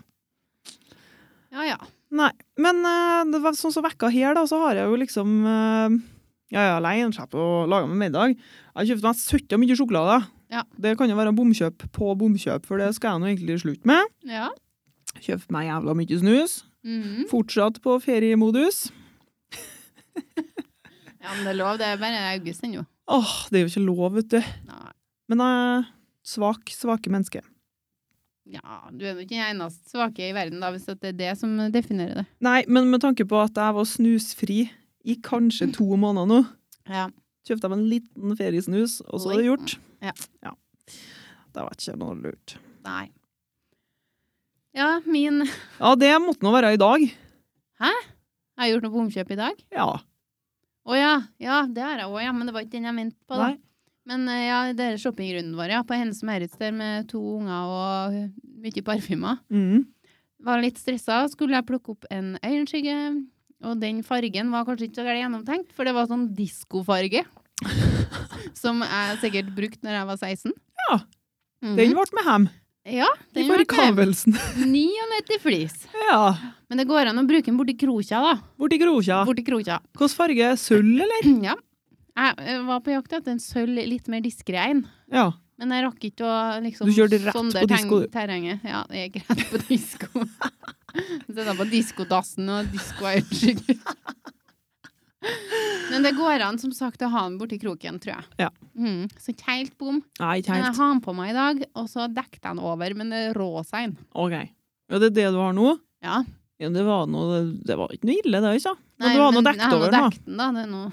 Ja, ja.
Nei, men eh, det var sånn som vekka her, da, så har jeg jo liksom eh, Jeg er alene, slipper å lage meg middag. Jeg kjøpte meg søtta mye sjokolade.
Ja.
Det kan jo være bomkjøp på bomkjøp, for det skal jeg nå egentlig slutte med.
ja.
Kjøpte meg jævla mye snus.
Mhm.
Fortsatt på feriemodus.
Ja, men det er lov. Det er bare august ennå.
Åh, det er jo ikke lov, vet du.
Nei.
Men jeg er svak, svake menneske.
Ja, du er nok ikke den eneste svake i verden, da, hvis at det er det som definerer det.
Nei, men med tanke på at jeg var snusfri i kanskje to måneder nå,
Ja.
kjøpte jeg meg en liten feriesnus, og så er det gjort.
Ja.
ja. Det var ikke noe lurt.
Nei. Ja, min Jeg
Ja, det måtte nå være i dag.
har gjort noe bomkjøp i dag.
Ja.
Å ja. Ja, det har jeg òg, ja. Men det var ikke den jeg mente på, da.
Nei.
Men eh, ja, det er shoppingrunden vår, ja. På Hennes Merits der med to unger og mye parfymer.
Mm.
Var litt stressa, skulle jeg plukke opp en øyenskygge. Og den fargen var kanskje ikke så gærent gjennomtenkt, for det var sånn diskofarge. som jeg sikkert brukte når jeg var 16.
Ja.
Mhm.
Den ble med hjem.
ja,
I
den var knep.
forkavelsen.
99 flis.
ja.
Men det går an å bruke den borti krokja, da.
Borti krokja.
Borti krokja.
Hvilken farge? Sølv, eller?
ja. Jeg eh, var på jakt etter en sølv, litt mer diskré en.
Ja.
Men jeg rakk ikke å liksom
Du kjørte rett
sondere
på disco, du.
terreng- terrenget. Ja, jeg gikk rett på disko. Sitter på diskodassen og disko er uskyldig. Men det går an som sagt å ha den borti kroken, tror jeg.
Ja.
Mm, så ikke helt bom.
Nei, ikke
Men jeg
helt.
har den på meg i dag, og så dekket jeg den over, men det er råsein.
Ok. Ja, det er det du har nå?
Ja.
Ja, det var noe, det var ikke noe ille, det, ikke? Men
Nei,
du har noe
men jeg
dekt
har
over, da.
dekt den, da. Det er noe...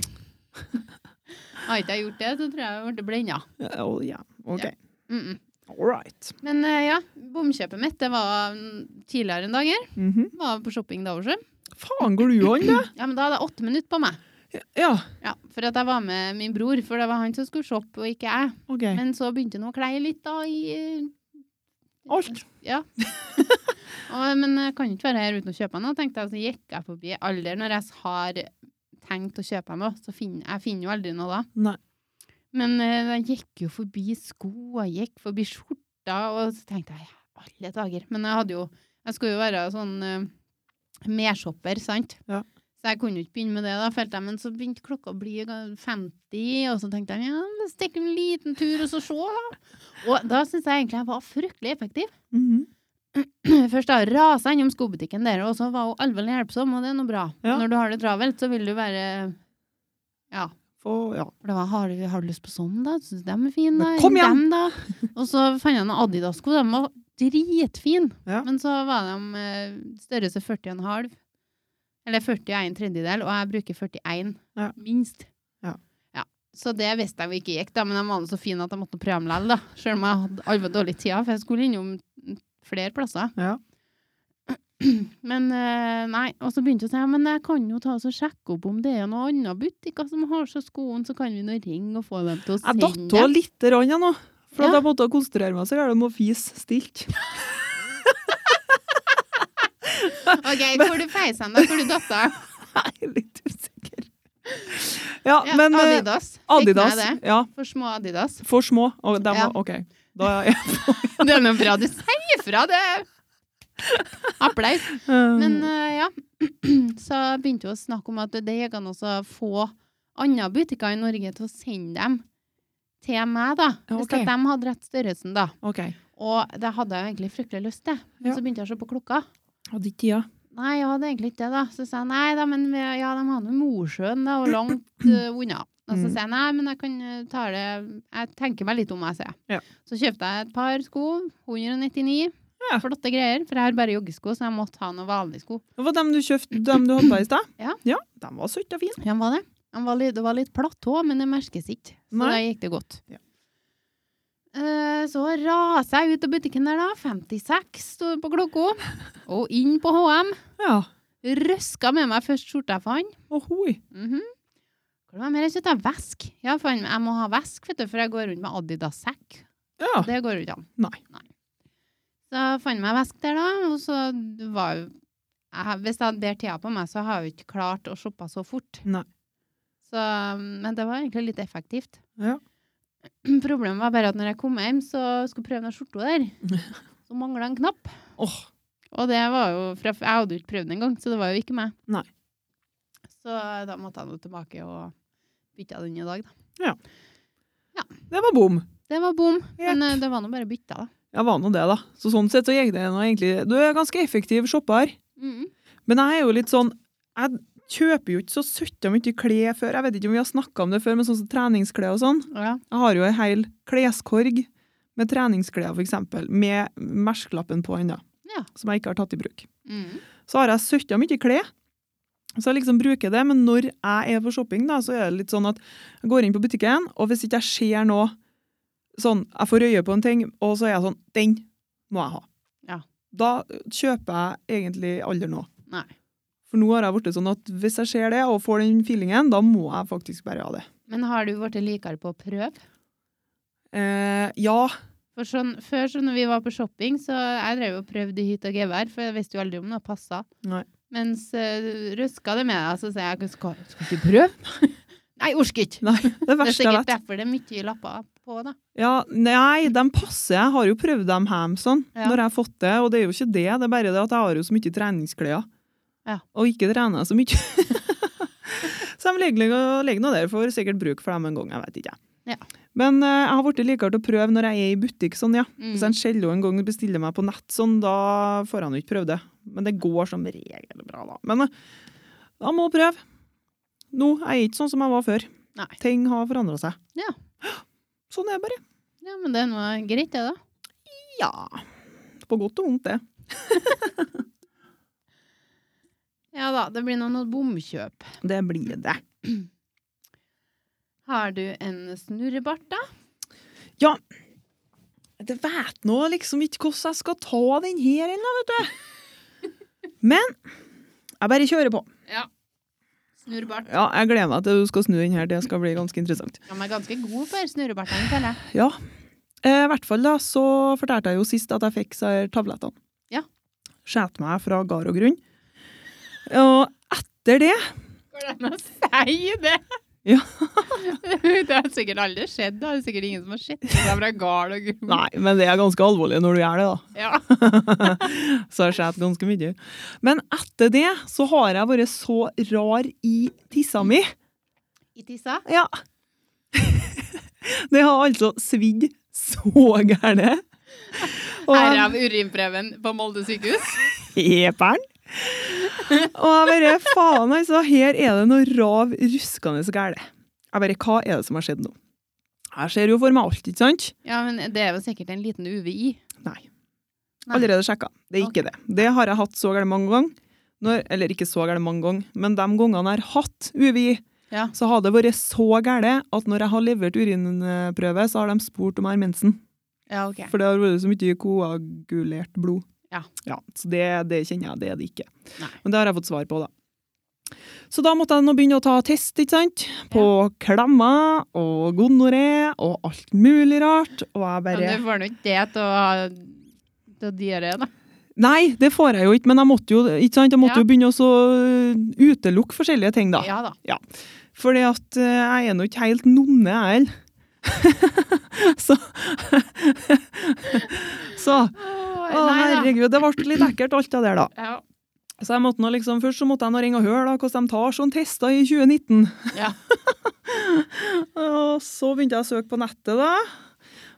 Har ikke jeg gjort det, så tror jeg jeg ble blenda.
Ja, å, ja. ok.
Ja. Mm -mm.
All right. Mhm.
Men eh, ja, bomkjøpet mitt det var mm, tidligere enn dager. Var på shopping da også.
Faen, går du an, da?
Ja, men da hadde jeg åtte minutter på meg.
Ja,
Ja, For at jeg var med min bror, for det var han som skulle shoppe, og ikke jeg.
OK.
Men så begynte han å kleie litt, da, i eh,
Alt.
Ja. og, men jeg kan ikke være her uten å kjøpe noe, tenkte jeg. Så gikk jeg forbi alle når jeg har tenkt å kjøpe noe. Så finner, jeg finner jo aldri noe da.
Nei.
Men eh, jeg gikk jo forbi sko, jeg gikk forbi skjorta, og så tenkte jeg alle dager. Men jeg hadde jo Jeg skulle jo være sånn uh, mershopper, sant?
Ja.
Så jeg kunne jo ikke begynne med det, da, følte jeg. Men så begynte klokka å bli 50, og så tenkte jeg ja, men stikk en liten tur og så se, da. Og da syns jeg egentlig jeg var fryktelig effektiv.
Mhm.
Først da rasa innom skobutikken der, og så var hun alvorlig hjelpsom, og det er nå bra.
Ja.
Når du har det travelt, så vil du være Ja.
Få- ja.
For det var, har, du, har du lyst på sånn, da? Syns du dem er fine, da?
Men kom
Eller
igjen!
Dem, da? Og så fant jeg noen Adidas-sko. De var dritfine.
Ja.
Men så var de eh, størrelse 41,5. Eller 41 tredjedel, og jeg bruker 41.
Ja.
Minst.
Ja.
Ja. Så det visste jeg jo ikke gikk, da, men de var nå så fine at jeg måtte prøve dem likevel, da. Selv om jeg hadde alvorlig dårlig tid, for jeg skulle innom flere plasser.
Ja.
Men eh, nei, og så begynte jeg å si ja, men jeg kan jo ta oss og sjekke opp om det er noen andre butikker altså, som har så skoen, så kan vi nå ringe og få dem til å
Jeg
sende
datt av lite grann, jeg nå. For at
Ja.
jeg måtte konsentrere meg, så jeg må fise stilt.
Ok, hvor du feis hen da? Hvor du datt av?
Jeg er litt usikker. Ja,
Ja,
men eh,
Adidas. Fikk med
Adidas.
det.
Ja,
For små Adidas.
for små. Og dem,
Ja.
var- OK. Da, ja.
Det er noe bra du sier fra, det! Applaus.
Um, Mm.
Men eh, ja, så begynte vi å snakke om at det gikk an også å få andre butikker i Norge til å sende dem til meg, da.
Ja,
Hvis
ok.
at de hadde rett størrelsen, da.
OK.
Og det hadde jeg jo egentlig fryktelig lyst til. Men
Ja.
så begynte jeg å se på klokka.
Hadde ikke tida.
Nei, jeg hadde egentlig ikke det, da. Så sa jeg nei da, men vi, ja, de har nå Mosjøen, da, og langt eh, unna. Og så
Mm.
sier jeg nei, men jeg kan eh, ta det Jeg tenker meg litt om, jeg sier.
Ja.
Så kjøpte jeg et par sko. 199.
Ja.
Flotte greier. For jeg har bare joggesko, så jeg måtte ha noen vanlige sko.
Det var dem du kjøpte, dem du hadde på i sted?
Ja.
ja. De var søte og fine.
Ja, hva var det? Han var litt, det var litt platt òg, men det merkes ikke. Så
Nei.
da gikk det godt.
Ja.
Eh, så raser jeg ut av butikken der, da. 56 står på klokka. Og inn på HM.
Ja.
Røska med meg først skjorta jeg fant.
Ohoi.
Mhm. Hvor var det mer jeg kjøpte? Vesk. Ja, faen, jeg må ha vesk, vet du, for jeg går rundt med Adidas-sekk.
Ja.
Det går jo ikke an.
Nei.
Så jeg fant meg vesk der, da. Og så var jo jeg, Hvis jeg hadde bedre tida på meg, så har jeg jo ikke klart å shoppe så fort.
Nei.
Så, men det var egentlig litt effektivt.
Ja.
Problemet var bare at når jeg kom hjem, så skulle jeg prøve den skjorta der. Så mangla en knapp.
Åh.
Og det var jo fra, Jeg hadde jo ikke prøvd den engang, så det var jo ikke meg.
Nei.
Så da måtte jeg nå tilbake og bytte den i dag, da.
Det var bom.
Det var bom.
Jepp.
Men eh, det var nå bare bytta, da.
Ja, var nå det, da. Så sånn sett så gikk det nå egentlig Du er ganske effektiv shopper.
Mhm.
Men jeg er jo litt sånn Jeg kjøper jo ikke så søtta mye klær før. Jeg vet ikke om vi har snakka om det før, men sånn som treningsklær og sånn.
ja.
Jeg har jo ei hel kleskorg med treningsklær, for eksempel, med merskelappen på ennå,
Ja.
som jeg ikke har tatt i bruk.
Mhm.
Så har jeg søtta mye klær. Så jeg liksom bruker det, men når jeg er på shopping, da, så er det litt sånn at jeg går inn på butikken, og hvis ikke jeg ser noe sånn, Jeg får øye på en ting, og så er jeg sånn Den må jeg ha.
Ja.
Da kjøper jeg egentlig aldri noe.
Nei.
For nå har jeg blitt sånn at hvis jeg ser det og får den feelingen, da må jeg faktisk bare ha det.
Men har du blitt likere på å prøve?
Eh, ja,
For sånn, før, så når vi var på shopping, så jeg drev og prøvde i hytt og gevær, for jeg visste jo aldri om noe passa.
Nei.
Mens uh, røska det med deg, så sier jeg skal, skal du prøve? Nei, orker ikke.
det
Det er
verste jeg
sikkert
vet.
derfor det er mye lapper på, da.
Ja, nei, de passer. Jeg har jo prøvd dem hjem sånn,
Ja.
når jeg har fått det. Og det er jo ikke det, det er bare det at jeg har jo så mye treningsklær.
Ja.
Og ikke trener jeg så mye. så de ligger ligger nå der, får sikkert bruk for dem en gang, jeg vet ikke.
Ja.
Men eh, jeg har blitt likere til å prøve når jeg er i butikk sånn, ja.
Mm.
Hvis en cello en gang bestiller meg på nett sånn, da får han jo ikke prøve det. Men det går som regel bra, da. Men eh, da må jeg prøve. Nå er jeg ikke sånn som jeg var før.
Nei.
Ting har forandra seg.
Ja.
Sånn er det bare.
Ja, men det er noe greit, det, da.
Ja. På godt og vondt, det.
Ja da, det blir nå noe bomkjøp.
Det blir det.
Har du en snurrebart, da?
Det vet nå liksom ikke hvordan jeg skal ta den her ennå, vet du. Men Jeg bare kjører på.
Snurrebart.
Ja, Jeg gleder meg til du skal snu den her. Det skal bli ganske interessant.
De er ganske gode på snurrebartene, føler jeg.
Ja. Eh, I hvert fall da, så fortalte jeg jo sist at jeg fikk så her tablettene.
Ja.
Skjæt meg fra gard og grunn. Og etter det
Går det an å si det?
Ja.
det har sikkert aldri skjedd. da. Det er sikkert ingen som har sett det fra gal og gul.
Nei, men det er ganske alvorlig når du gjør det, da.
Ja.
så jeg skjæt ganske mye. Men etter det så har jeg vært så rar i tissa mi.
I tissa?
Ja. Det har altså svidd så gærent. Og
Her
jeg
av urinprøven på Molde sykehus.
Jeperen. Og jeg bare Faen, altså. Her er det noe rav ruskende så gærent. Jeg bare Hva er det som har skjedd nå? Jeg ser jo for meg alt, ikke sant?
Ja, men det er jo sikkert en liten UVI.
Nei.
Nei.
Allerede sjekka. Det er ikke det. Det har jeg hatt så gærent mange ganger. Når, eller ikke så gærent mange ganger, men de gangene jeg har hatt UVI,
Ja.
så har det vært så gærent at når jeg har levert urinprøve, så har de spurt om jeg har mensen.
Ja, ok.
For det har vært så mye koagulert blod.
Ja.
så det, det kjenner jeg, det er det ikke.
Nei.
Men det har jeg fått svar på, da. Så da måtte jeg nå begynne å ta test, ikke sant? På klemmer og gonoré og alt mulig rart. Og jeg
Men
bare
du får nå ikke det til å ha- til å diaré, da.
Nei, det får jeg jo ikke, men jeg måtte jo, ikke sant? Jeg måtte
Ja.
jo begynne å så, øh, utelukke forskjellige ting, da.
Ja da.
Fordi at eh, jeg er nå ikke helt nonne, jeg heller. så Så
Å,
Å,
nei da.
herregud, det ble litt ekkelt, alt det der, da.
Ja.
Så jeg måtte nå liksom, Først så måtte jeg nå ringe og høre da, hvordan de tar sånne tester i 2019.
Ja.
og så begynte jeg å søke på nettet, da.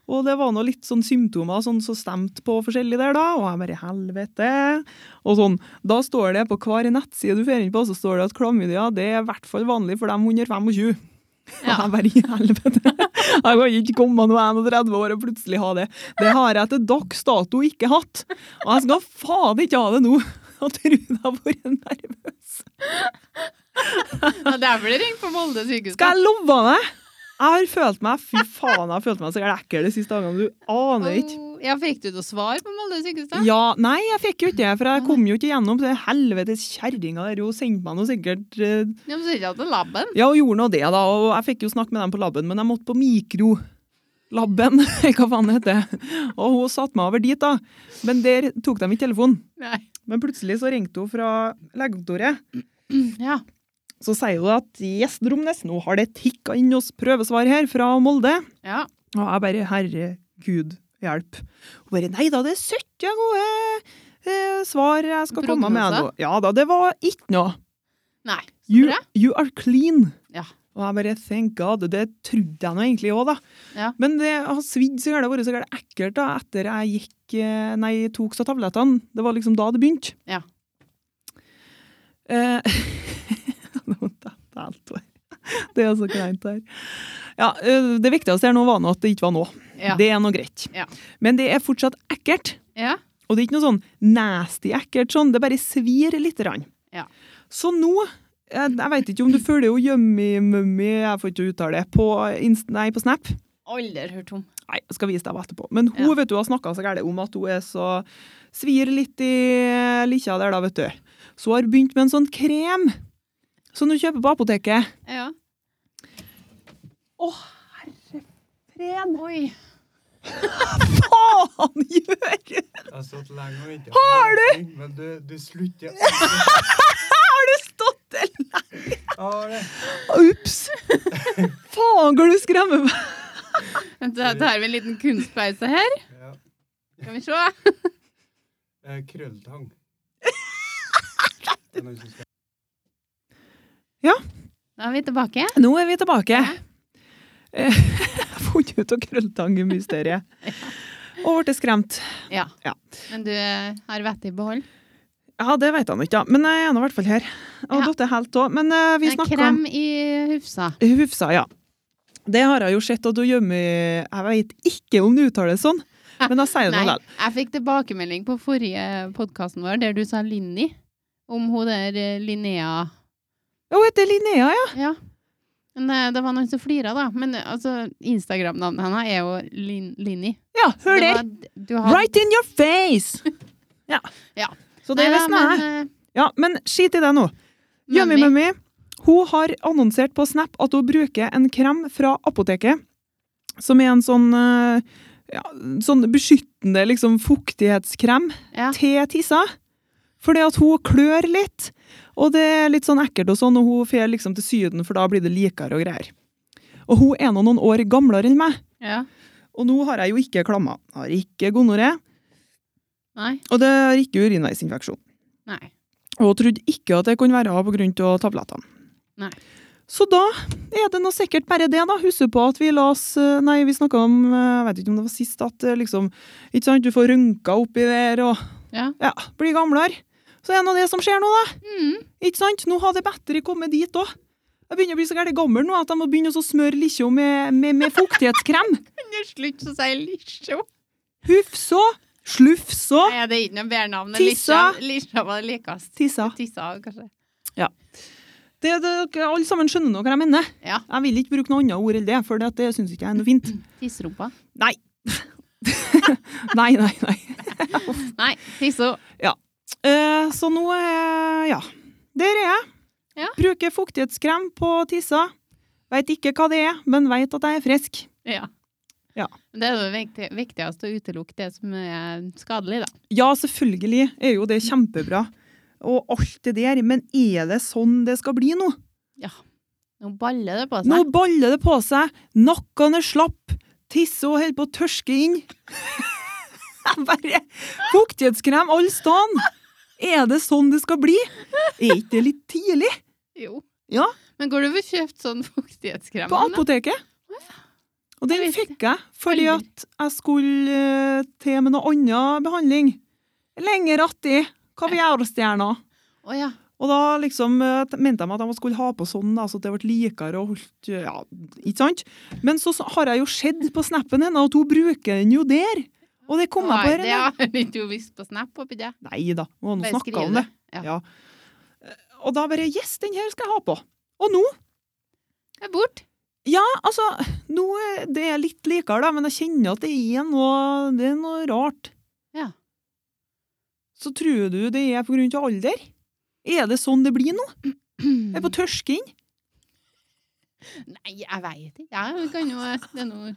Og det var nå litt sånn symptomer sånn som stemte på forskjellig der, da. Og jeg bare helvete. Og sånn. Da står det på hver nettside du får inn på, så står det at klamydia det er i hvert fall vanlig for dem under 25. Og
Ja.
jeg bare i helvete. Jeg kan ikke komme når jeg er 31 år og plutselig ha det. Det har jeg til dags dato ikke hatt. Og jeg skal faen ikke ha det nå. Og tror jeg har vært nervøs.
Ja, Derfor det ringte på Molde sykehus.
Skal jeg love deg? Jeg har følt meg Fy faen, jeg har følt meg så ekkel de siste dagene. Du aner ikke.
Å, Ja, fikk du noe svar på Molde sykehus, da?
Ja, Nei, jeg fikk jo ikke det, for jeg kom jo ikke gjennom. Den helvetes kjerringa der hun sendte meg noe sikkert eh,
Ja, men så ikke at det er labben.
Ja, hun gjorde nå det, da. Og jeg fikk jo snakke med dem på laben, men jeg måtte på mikro. Labben, hva faen heter det? Og hun satte meg over dit, da. Men der tok de ikke telefonen.
Nei.
Men plutselig så ringte hun fra legekontoret.
Ja.
Så sier hun at yes, Dromnes, nå har det tikka inn oss prøvesvar her fra Molde.
Ja.
Og jeg bare herregud, hjelp. Hun bare nei da, det er 70 gode eh, svar jeg skal komme med nå.
Prognoser?
Ja da, det var ikke noe.
Nei.
You,
bra.
you are clean.
Ja.
Og jeg bare thank god. Det trodde jeg nå egentlig òg, da.
Ja.
Men det har svidd så gærent, vært så gærent ekkelt da, etter jeg gikk eh, Nei, tok så tablettene. Det var liksom da det begynte.
Ja.
Eh, nå datt jeg helt over. Det er så kleint her. Ja, eh, det viktigste her nå var nå at det ikke var nå.
Ja.
Det er nå greit.
Ja.
Men det er fortsatt ekkelt.
ja.
Og det er ikke noe sånn nasty ekkelt sånn, det bare svir litt. Rann.
Ja.
Så nå jeg, jeg vet ikke om du følger jo Yummy-Mummy, jeg får ikke uttale det, på, Inst- nei, på Snap.
Aldri hørt om.
Nei, jeg skal vise deg etterpå. Men hun
Ja.
vet du, har snakka så gærent om at hun er så svir litt i likkja der, da, vet du. Så hun har begynt med en sånn krem som du kjøper på apoteket.
Ja.
Å,
Fred. Oi.
faen gjør!
Jeg har stått lenge og venta. Har du?! Men du, du slutter aldri.
Har du stått der?
Jeg har det.
Ops! Faen, hvor du skremmer meg!
Vent, Da tar vi en liten kunstpause her.
Ja.
Skal vi se.
Eh, Krølltang. Det er noen som skal-
Da er vi tilbake.
Nå er vi tilbake. Eh, Jeg har funnet ut av krølltangemysteriet. Og ble skremt.
Ja.
Ja.
Men du eh, har vettet i behold.
Ja, det vet han ikke, da. Men jeg er nå i hvert fall her. Og
Ja.
datt er helt av. Men eh, vi
En
snakker om
Krem i Hufsa.
Hufsa, ja. Det har jeg jo sett at du gjemmer Jeg vet ikke om du uttaler det sånn, men jeg sier det
Nei,
nå likevel.
jeg fikk tilbakemelding på forrige podkasten vår, der du sa Linni. Om hun der eh, Linnea
Hun heter Linnea, ja.
Ja. Men eh, det var noen som flira, da. Men eh, altså, Instagram-navnet hennes er jo Lin Linni.
Ja, hør
Det
der!
var- Du har
Right in your face! Ja.
Ja.
Så det
Nei,
visste jeg.
men, eh,
Ja, men skit i det nå. Yummy
Mummy.
Mummy hun har annonsert på Snap at hun bruker en krem fra apoteket, som er en sånn, eh, ja, sånn beskyttende liksom, fuktighetskrem
Ja.
til tissa. Fordi at hun klør litt, og det er litt sånn ekkelt og sånn, og hun fer liksom til syden, for da blir det likere og greier. Og hun er nå noen år gamlere enn meg,
ja.
og nå har jeg jo ikke klamma. Har ikke gonoré,
Nei.
og det har ikke urinveisinfeksjon.
Nei.
Og trodde ikke at det kunne være på grunn av tablettene.
Nei.
Så da er det nå sikkert bare det, da. Husker på at vi la oss eh, Nei, vi snakka om eh, Jeg vet ikke om det var sist, at eh, liksom Ikke sant, du får rynker oppi der og
Ja.
ja, blir gamlere. Så er det nå det som skjer nå, da.
Mm.
Ikke sant? Nå har det bedre kommet dit òg. Jeg begynner å bli så gæren gammel nå at jeg må begynne å smøre likkja med, med, med fuktighetskrem.
Kan du slutte å si lisjo?
Hufså, slufså,
Nei, det er ikke noe bedre navn. enn
Ah! Tissa.
Lisja. Lisja var det likest.
tissa.
Tissa, kanskje.
Det, det, dere alle sammen skjønner nå hva jeg mener.
Ja.
Jeg vil ikke bruke noe annet ord enn det, for det, at det syns ikke jeg er noe fint.
Tissrumpa.
Nei. nei, nei, nei.
Nei, tisso.
Eh, så nå eh, Ja. Der er jeg.
Ja.
Bruker fuktighetskrem på tissa. Veit ikke hva det er, men veit at jeg er frisk.
Ja.
Ja.
Det er det viktig- viktigste å utelukke det som er skadelig, da.
Ja, selvfølgelig er jo det kjempebra. Og alt det der, men er det sånn det skal bli nå?
Nå baller det på seg.
Nå baller det på seg, nakken er slapp, tisse og holder på å tørske inn. Jeg Bare fuktighetskrem all stan! Er det sånn det skal bli? Er ikke det litt tidlig?
Jo.
Ja.
Men går du og får kjøpt sånn fuktighetskrem?
På
da?
apoteket. Og den
Jeg visste.
fikk jeg fordi at jeg skulle eh, til med noe annen behandling. Lenger atti. Kaviarstjerna.
Å ja.
Og da liksom eh, t- mente de at de skulle ha på sånn, da, så det ble likere og holdt eh, Ja, ikke sant? Men så s- har jeg jo sett på snappen hennes at hun bruker den jo der. Og det kom jeg på her.
Det
Ja.
har jeg ikke visst på Snap oppi det.
Nei da, må nå
Bare
snakke
skrive
om det.
det,
Ja. Og da bare Yes, den her skal jeg ha på. Og nå
Det er bort.
Ja, altså, nå er det er litt likere, da, men jeg kjenner at det er noe, det er noe rart.
Ja.
Så tror du det er på grunn av alder? Er det sånn det blir nå? Er det på tørsking?
Nei, jeg veit ikke. Ja, vi kan jo Det er noe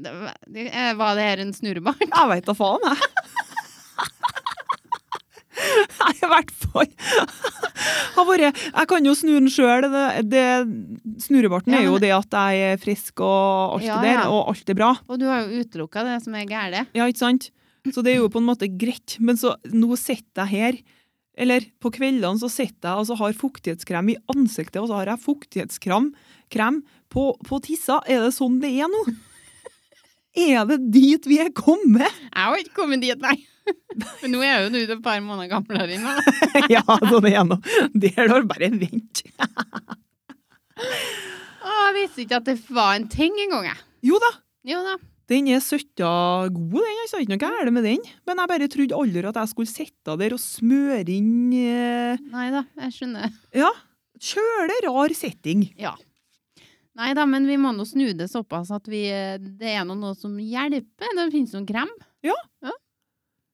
det, det- eh, Var det her en snurrebart?
Jeg veit da faen, jeg. Nei, i hvert fall. Har vært- Jeg kan jo snu den sjøl. Det, det, snurrebarten
Ja,
er jo
men-
det at jeg er frisk og alt
Ja,
det der,
ja.
og alt er bra.
Og du har jo utelukka det som er gærent.
Ja, ikke sant? Så det er jo på en måte greit. Men så nå sitter jeg her, eller på kveldene så sitter jeg og så har fuktighetskrem i ansiktet, og så har jeg fuktighetskrem krem på, på tissa. Er det sånn det er nå? Er det dit vi er kommet?
Jeg har ikke kommet dit, nei. Men nå er jo du et par måneder gamlere enn meg. da.
ja, sånn er det nå. Det er da bare vent.
Å, Jeg visste ikke at det var en ting engang, jeg.
Jo da,
Jo da.
den er søtta god, den. Jeg sa ikke noe gærent med den. Men jeg bare trodde aldri at jeg skulle sitte der og smøre inn eh,
Nei da, jeg skjønner.
Kjøle rar setting.
Nei da, men vi må nå snu det såpass at vi eh, Det er nå noe som hjelper. Det finnes noen krem.
Ja.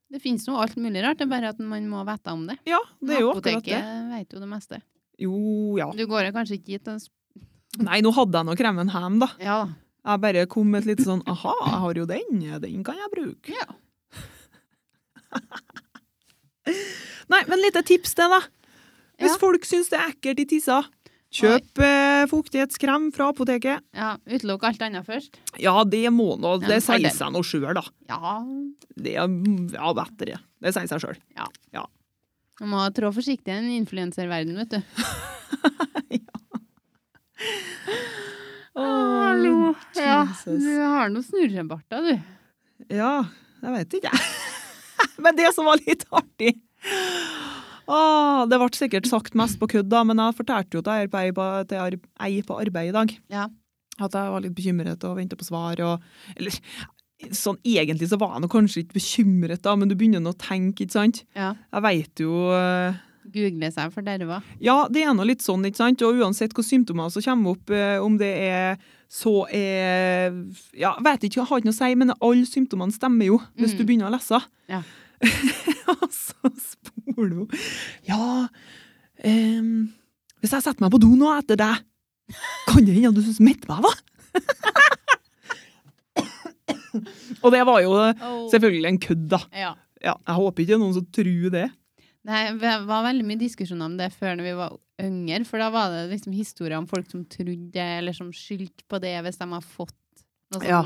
Det finnes nå alt mulig rart, det er bare at man må vite om det.
Ja, det er jo akkurat det.
Apoteket vet jo det meste.
Jo, ja.
Du går jo kanskje ikke hit og sp-
Nei, nå hadde jeg nå kremen hjem, da.
Ja da.
Jeg bare kom med et litt sånn aha, jeg har jo den, den kan jeg bruke.
Ja.
Nei, men lite tips det, da. Hvis
Ja.
folk syns det er ekkelt i tissa, kjøp eh, fuktighetskrem fra apoteket.
ja Utelukk alt annet først.
Ja, det må nå
Ja,
Det
en
sier
fordel.
seg nå sjøl, da.
Ja.
Det er ja, bedre. det. Det sier seg sjøl.
Man må trå forsiktig i den influenserverdenen, vet du. Ja,
Jesus.
du har noe snurrebarter, du.
Ja, jeg vet ikke, jeg. men det som var litt artig Åh, Det ble sikkert sagt mest på kødd, da, men jeg fortalte jo til ei på, ei på- til ei ei på arbeid i dag
Ja.
at jeg var litt bekymret og venta på svar. Og, eller sånn egentlig så var jeg nå kanskje ikke bekymret, da, men du begynner nå å tenke, ikke sant?
Ja.
Jeg veit jo eh,
Google seg for derva.
ja, det er nå litt sånn, ikke sant? Og uansett hvilke symptomer som kommer opp, eh, om det er så er Ja, vet ikke, jeg har ikke noe å si, men alle symptomene stemmer jo hvis
Mm.
du begynner å lese.
Ja.
Og så spurte Olvo. Ja ehm, Hvis jeg setter meg på do nå etter deg, kan det hende at du syns midtvev, da? Og det var jo
Oh.
selvfølgelig en kødd, da.
Ja.
Ja, jeg håper ikke det er noen som tror det.
Nei, Det var veldig mye diskusjoner om det før når vi var yngre, for da var det liksom historier om folk som trodde eller som skyldte på det hvis de har fått noe sånn
Ja.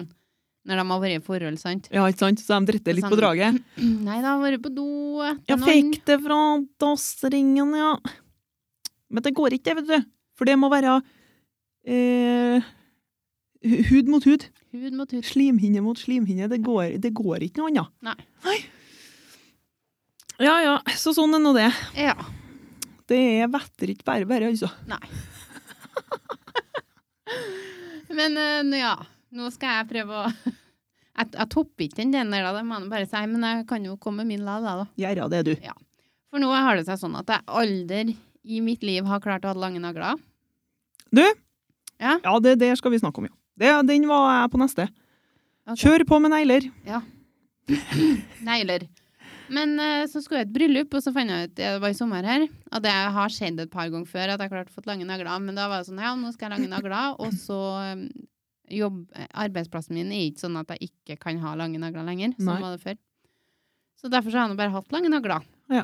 når de har vært i forhold, sant?
Ja, ikke sant? Så de dritter litt på
Sånn,
draget.
Nei, de har vært på do etter
Jeg fikk det fra dassringen, ja. Men det går ikke, det, vet du. For det må være eh, hu- hud mot hud.
Hud mot hud.
Slimhinne mot slimhinne. Det går, det går ikke noe annet.
Nei.
Ja ja, så sånn er nå det.
Ja.
Det er vetter ikke bare bare, altså.
Men eh, nå, ja, nå skal jeg prøve å Jeg, jeg topper ikke den delen der, da, det må jeg nå bare si, men jeg kan jo komme med min la, da. da.
Gjør det, du.
For nå har det seg sånn at jeg aldri i mitt liv har klart å ha lange nagler.
Ja, det der skal vi snakke om, ja. Det, den var jeg på neste.
Ok.
Kjør på med negler.
Negler. Men eh, så skulle jeg i et bryllup, og så fant jeg ut det var i sommer her, og det har skjedd et par ganger før at jeg klarte å få lange nagler, men da var det sånn ja, nå skal jeg ha lange nagler, og så um, jobb, eh, arbeidsplassen min er ikke sånn at jeg ikke kan ha lange nagler lenger. Sånn
Nei.
var det før. Så derfor så har jeg nå bare hatt lange nagler.
Ja.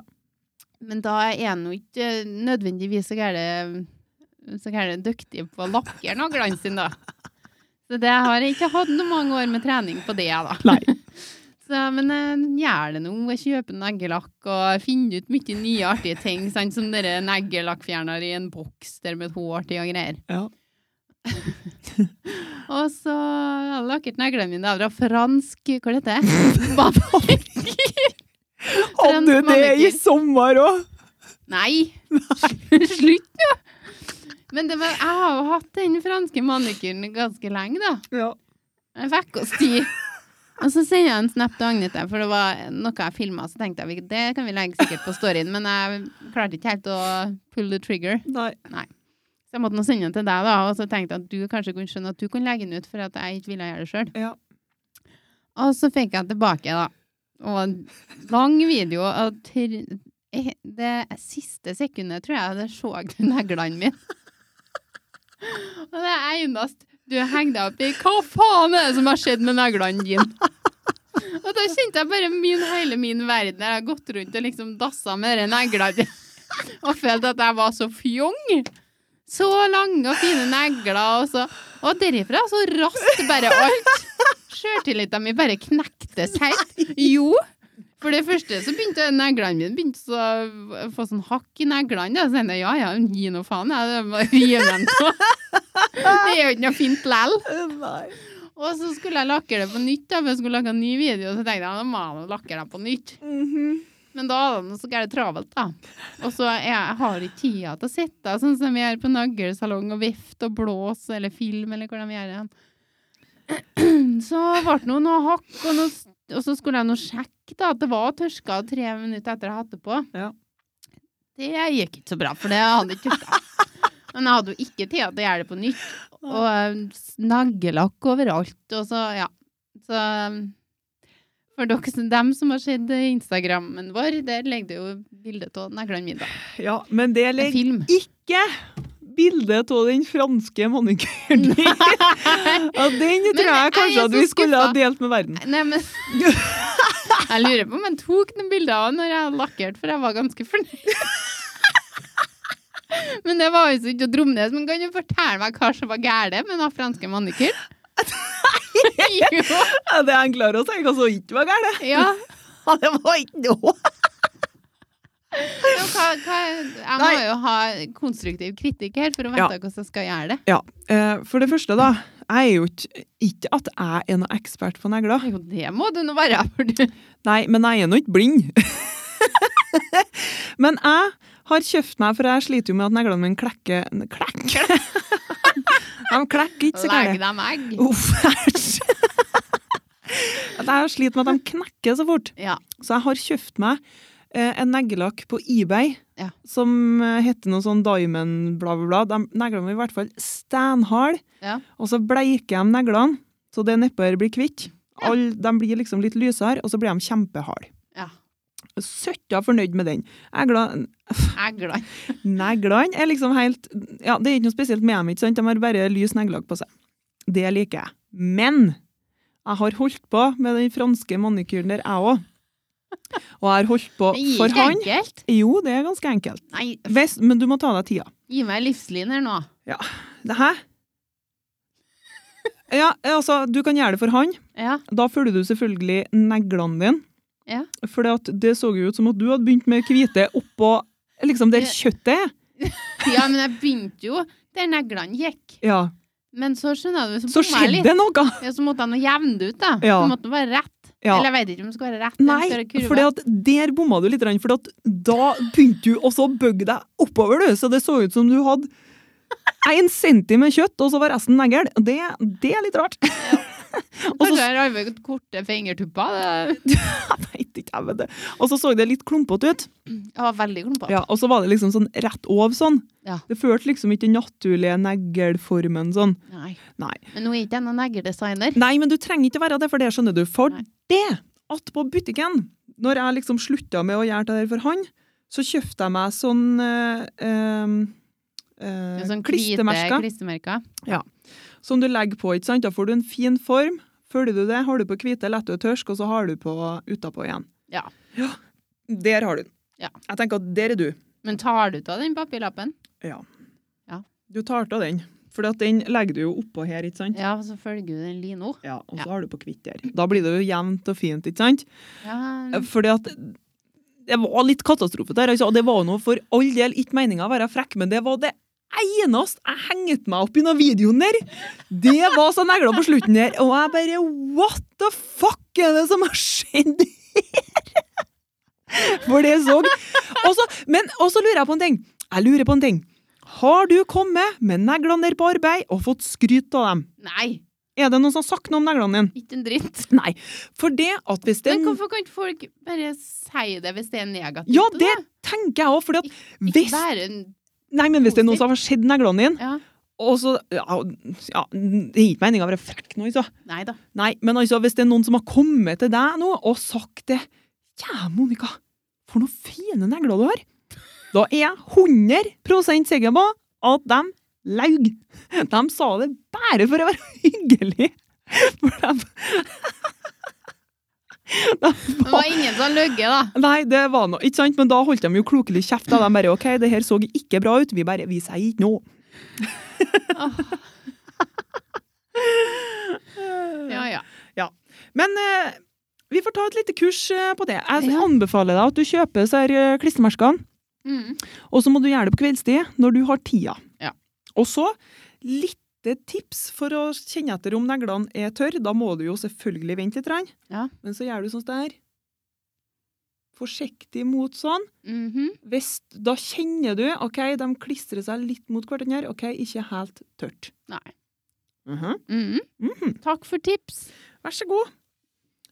Men da er jeg nå ikke eh, nødvendigvis så gæren så gæren dyktig på å lakkere naglene sine, da. Så det har jeg ikke hatt noen mange år med trening på det, da.
Nei.
Så, men jeg gjør det nå. Jeg kjøper neglelakk og finner ut mye nye artige ting. Sant? Som dere neglelakkfjerner i en boks der med et hår til og greier.
Ja.
Og så har jeg lakkert neglene mine av fra fransk Hva heter det? Babalikk.
Hadde du det i
Transmanikyr.
sommer òg?
Nei! Slutt nå! Men det var, jeg har jo hatt den franske manikyren ganske lenge, da.
Ja.
En ukas tid. Og så sender jeg en snap til Agnete, for det var noe jeg filma. Så tenkte jeg vi- det kan vi legge sikkert på storyen, men jeg klarte ikke helt å pull the trigger.
Nei.
Så jeg måtte nå sende den til deg, da, og så tenkte jeg at du kanskje kunne skjønne at du kunne legge den ut, for at jeg ikke ville gjøre det sjøl.
Ja.
Og så fikk jeg den tilbake, da. Og en lang video. Og til eh, det siste sekundet tror jeg det så du neglene mine. Og det eneste du henger deg opp i, hva faen er det som har skjedd med neglene dine? Og da kjente jeg bare min, hele min verden. Jeg har gått rundt og liksom dassa med de neglene. Og følte at jeg var så fjong. Så lange og fine negler. Og, så. og derifra så raskt bare alt. Sjøltilliten min bare knektes helt. Jo. For det første så begynte neglene mine begynte så å få sånn hakk i neglene. da. Så tenkte jeg ja ja, gi nå faen. Jeg det var riven på. Det er jo ikke noe fint lell.
Eh, Nei.
Og så skulle jeg lakke det på nytt, da, for jeg skulle lage en ny video. Så tenkte jeg nå må jeg nå lakke det på nytt.
Mhm.
Men da er det noe så gærent travelt, da. Og så er jeg har ikke tida til å sitte sånn som vi gjør på naglesalong og vifte og blåse eller film eller hvordan vi gjør det. Så ble det nå noe hakk, og, noe, og så skulle jeg nå sjekke da, at det var tørka tre minutter etter jeg hadde det på.
Ja.
Det gikk ikke så bra, for det hadde ikke tørka. Men jeg hadde jo ikke tida til å gjøre det på nytt. Og eh, naglelakk overalt, og så, ja. Så eh, for dere, som- dem som har sett eh, Instagrammen vår, der legger det jo bilde av neglene mine. da.
Ja, men det
En
legger
film.
ikke bildet av den franske manikyren i. Ja, den
jeg
tror jeg
er
kanskje at
så
vi skulle ha
skuffa.
delt med verden.
Nei, men Jeg lurer på om jeg tok noen bilder av når jeg lakkerte, for jeg var ganske fornøyd. Men det var jo så ikke å dromme det. Men kan du fortelle meg hva som var gærent med den franske manikyren? Jo,
Ja, Det er enklere å si hva som ikke var galt.
ja.
Ja, det var ikke noe.
Men Hva, hva, jeg må
Nei.
jo ha konstruktiv kritikk her for å
Ja.
vite hvordan jeg skal gjøre det.
Ja, eh, for det første da, jeg er jo ikke, ikke at jeg er noen ekspert på negler.
Jo, det må du nå være. For du.
Nei, men jeg er nå ikke blind. men jeg har kjøpt meg, for jeg sliter jo med at neglene mine klekker. Klekker? De klekker ikke så
Legg
gærent. Oh.
dem egg.
Uff, æsj. At jeg sliter med at de knekker så fort.
Ja.
Så jeg har kjøpt meg eh, en neglelakk på eBay
Ja.
som eh, heter noe sånn diamond bla bla bla. De neglene var i hvert fall steinhard,
Ja.
og så bleiker de neglene, så det neppet blir kvitt. All, de blir liksom litt lysere, og så blir de kjempehard.
Ja.
søtta fornøyd med den. Jeg er glad
Eglene.
Neglene er liksom helt Ja, det er ikke noe spesielt med dem, ikke sant? De har bare lys neglelag på seg. Det liker jeg. Men jeg har holdt på med den franske manikyren der, jeg òg. Og jeg har holdt på
Det gir
for
ikke
han.
enkelt.
Jo, det er ganske enkelt.
Nei,
Hvis, men du må ta deg tida.
gi meg livslin her nå.
Det- Hæ? Ja, altså, du kan gjøre det for han.
Ja.
Da følger du selvfølgelig neglene dine.
Ja.
For det så jo ut som at du hadde begynt med hvite oppå liksom der
Ja.
kjøttet er.
ja, men jeg begynte jo der neglene gikk.
Ja.
Men så skjønner du, så,
Så
bomma jeg litt.
skjedde noe!
Ja, så måtte jeg nå jevne det ut, da.
Ja.
Det måtte være rett.
Ja.
Eller jeg vet ikke om det skal være rett.
Nei, for at der bomma du litt, for at da begynte du også å bøgge deg oppover, du. Så det så ut som du hadde en centi med kjøtt, og så var resten negl. Det, det er litt rart. og
Kanskje
så
jeg har arvet korte fingertupper. det-
jeg vet ikke, jeg vet det. Og så så det litt klumpete ut.
Jeg var veldig klumpete.
Ja, og så var det liksom sånn rett over sånn.
Ja.
Det førte liksom ikke den naturlige neglformen sånn.
Nei.
Nei. Mm.
Men nå er ikke jeg noen negledesigner.
Nei, men du trenger ikke være det, for det skjønner du. For
Nei.
det at på butikken, når jeg liksom slutta med å gjøre det der for han, så kjøpte jeg meg sånn eh, eh, eh,
Sånn hvite
klistremerker
klistremerker.
som du legger på, ikke sant? Da får du en fin form. Følger du det, har du på hvite, lett og tørsk, og så har du på utapå igjen.
Ja.
Der har du den.
Ja.
Jeg tenker at der er du.
Men tar du av den papirlappen?
Du tar av den, for den legger du jo oppå her, ikke sant?
Ja, så følger du den lina.
Ja, og så
Ja.
har du på kvitt der. Da blir det jo jevnt og fint, ikke sant?
Ja,
Eh, Fordi at det var litt katastrofe der, altså. Og det var nå for all del ikke meninga å være frekk, men det var det eneste jeg hengte meg opp i den videoen der. Det var så negler på slutten der, og jeg bare What the fuck er det som har skjedd her? For det så og så- Men og så lurer jeg på en ting. Jeg lurer på en ting. Har du kommet med neglene der på arbeid og fått skryt av dem?
nei,
Er det noen som har sagt noe om neglene dine?
ikke en dritt.
Nei, for det at hvis det
Men hvorfor kan ikke folk bare si det hvis det er negativt?
Ja,
da?
det tenker jeg òg, for at
Ikke
hvis
være en
Nei, men hvis det er noen som har sett neglene dine,
Ja.
og så ja, ja, Det er ikke meninga å være frekk nå, altså.
Nei da.
Nei, men altså, hvis det er noen som har kommet til deg nå og sagt det Ja, Monica, for noen fine negler du har! Da er jeg 100 sikker på at de laug. De sa det bare for å være hyggelig. For de,
Det var ingen som løy, da.
Nei, det var noe, ikke sant? Men da holdt de jo klokelig kjeft. Da de bare OK, det her så ikke bra ut. Vi bare Vi sier ikke noe.
Ja, ja.
Men eh, vi får ta et lite kurs eh, på det. Jeg
Ja.
anbefaler deg at du kjøper disse her, eh, klistremerkene,
Mm.
og så må du gjøre det på kveldstid når du har tida.
Ja.
Og så lite tips for å kjenne etter om neglene er tørre. Da må du jo selvfølgelig vente litt. grann.
Ja.
Men så gjør du sånn som det her. Forsiktig mot sånn.
Mhm.
Hvis, da kjenner du ok, de klistrer seg litt mot hverandre. ok, Ikke helt tørt.
Nei.
Mhm.
Mhm.
Mhm.
Takk for tips.
Vær så god.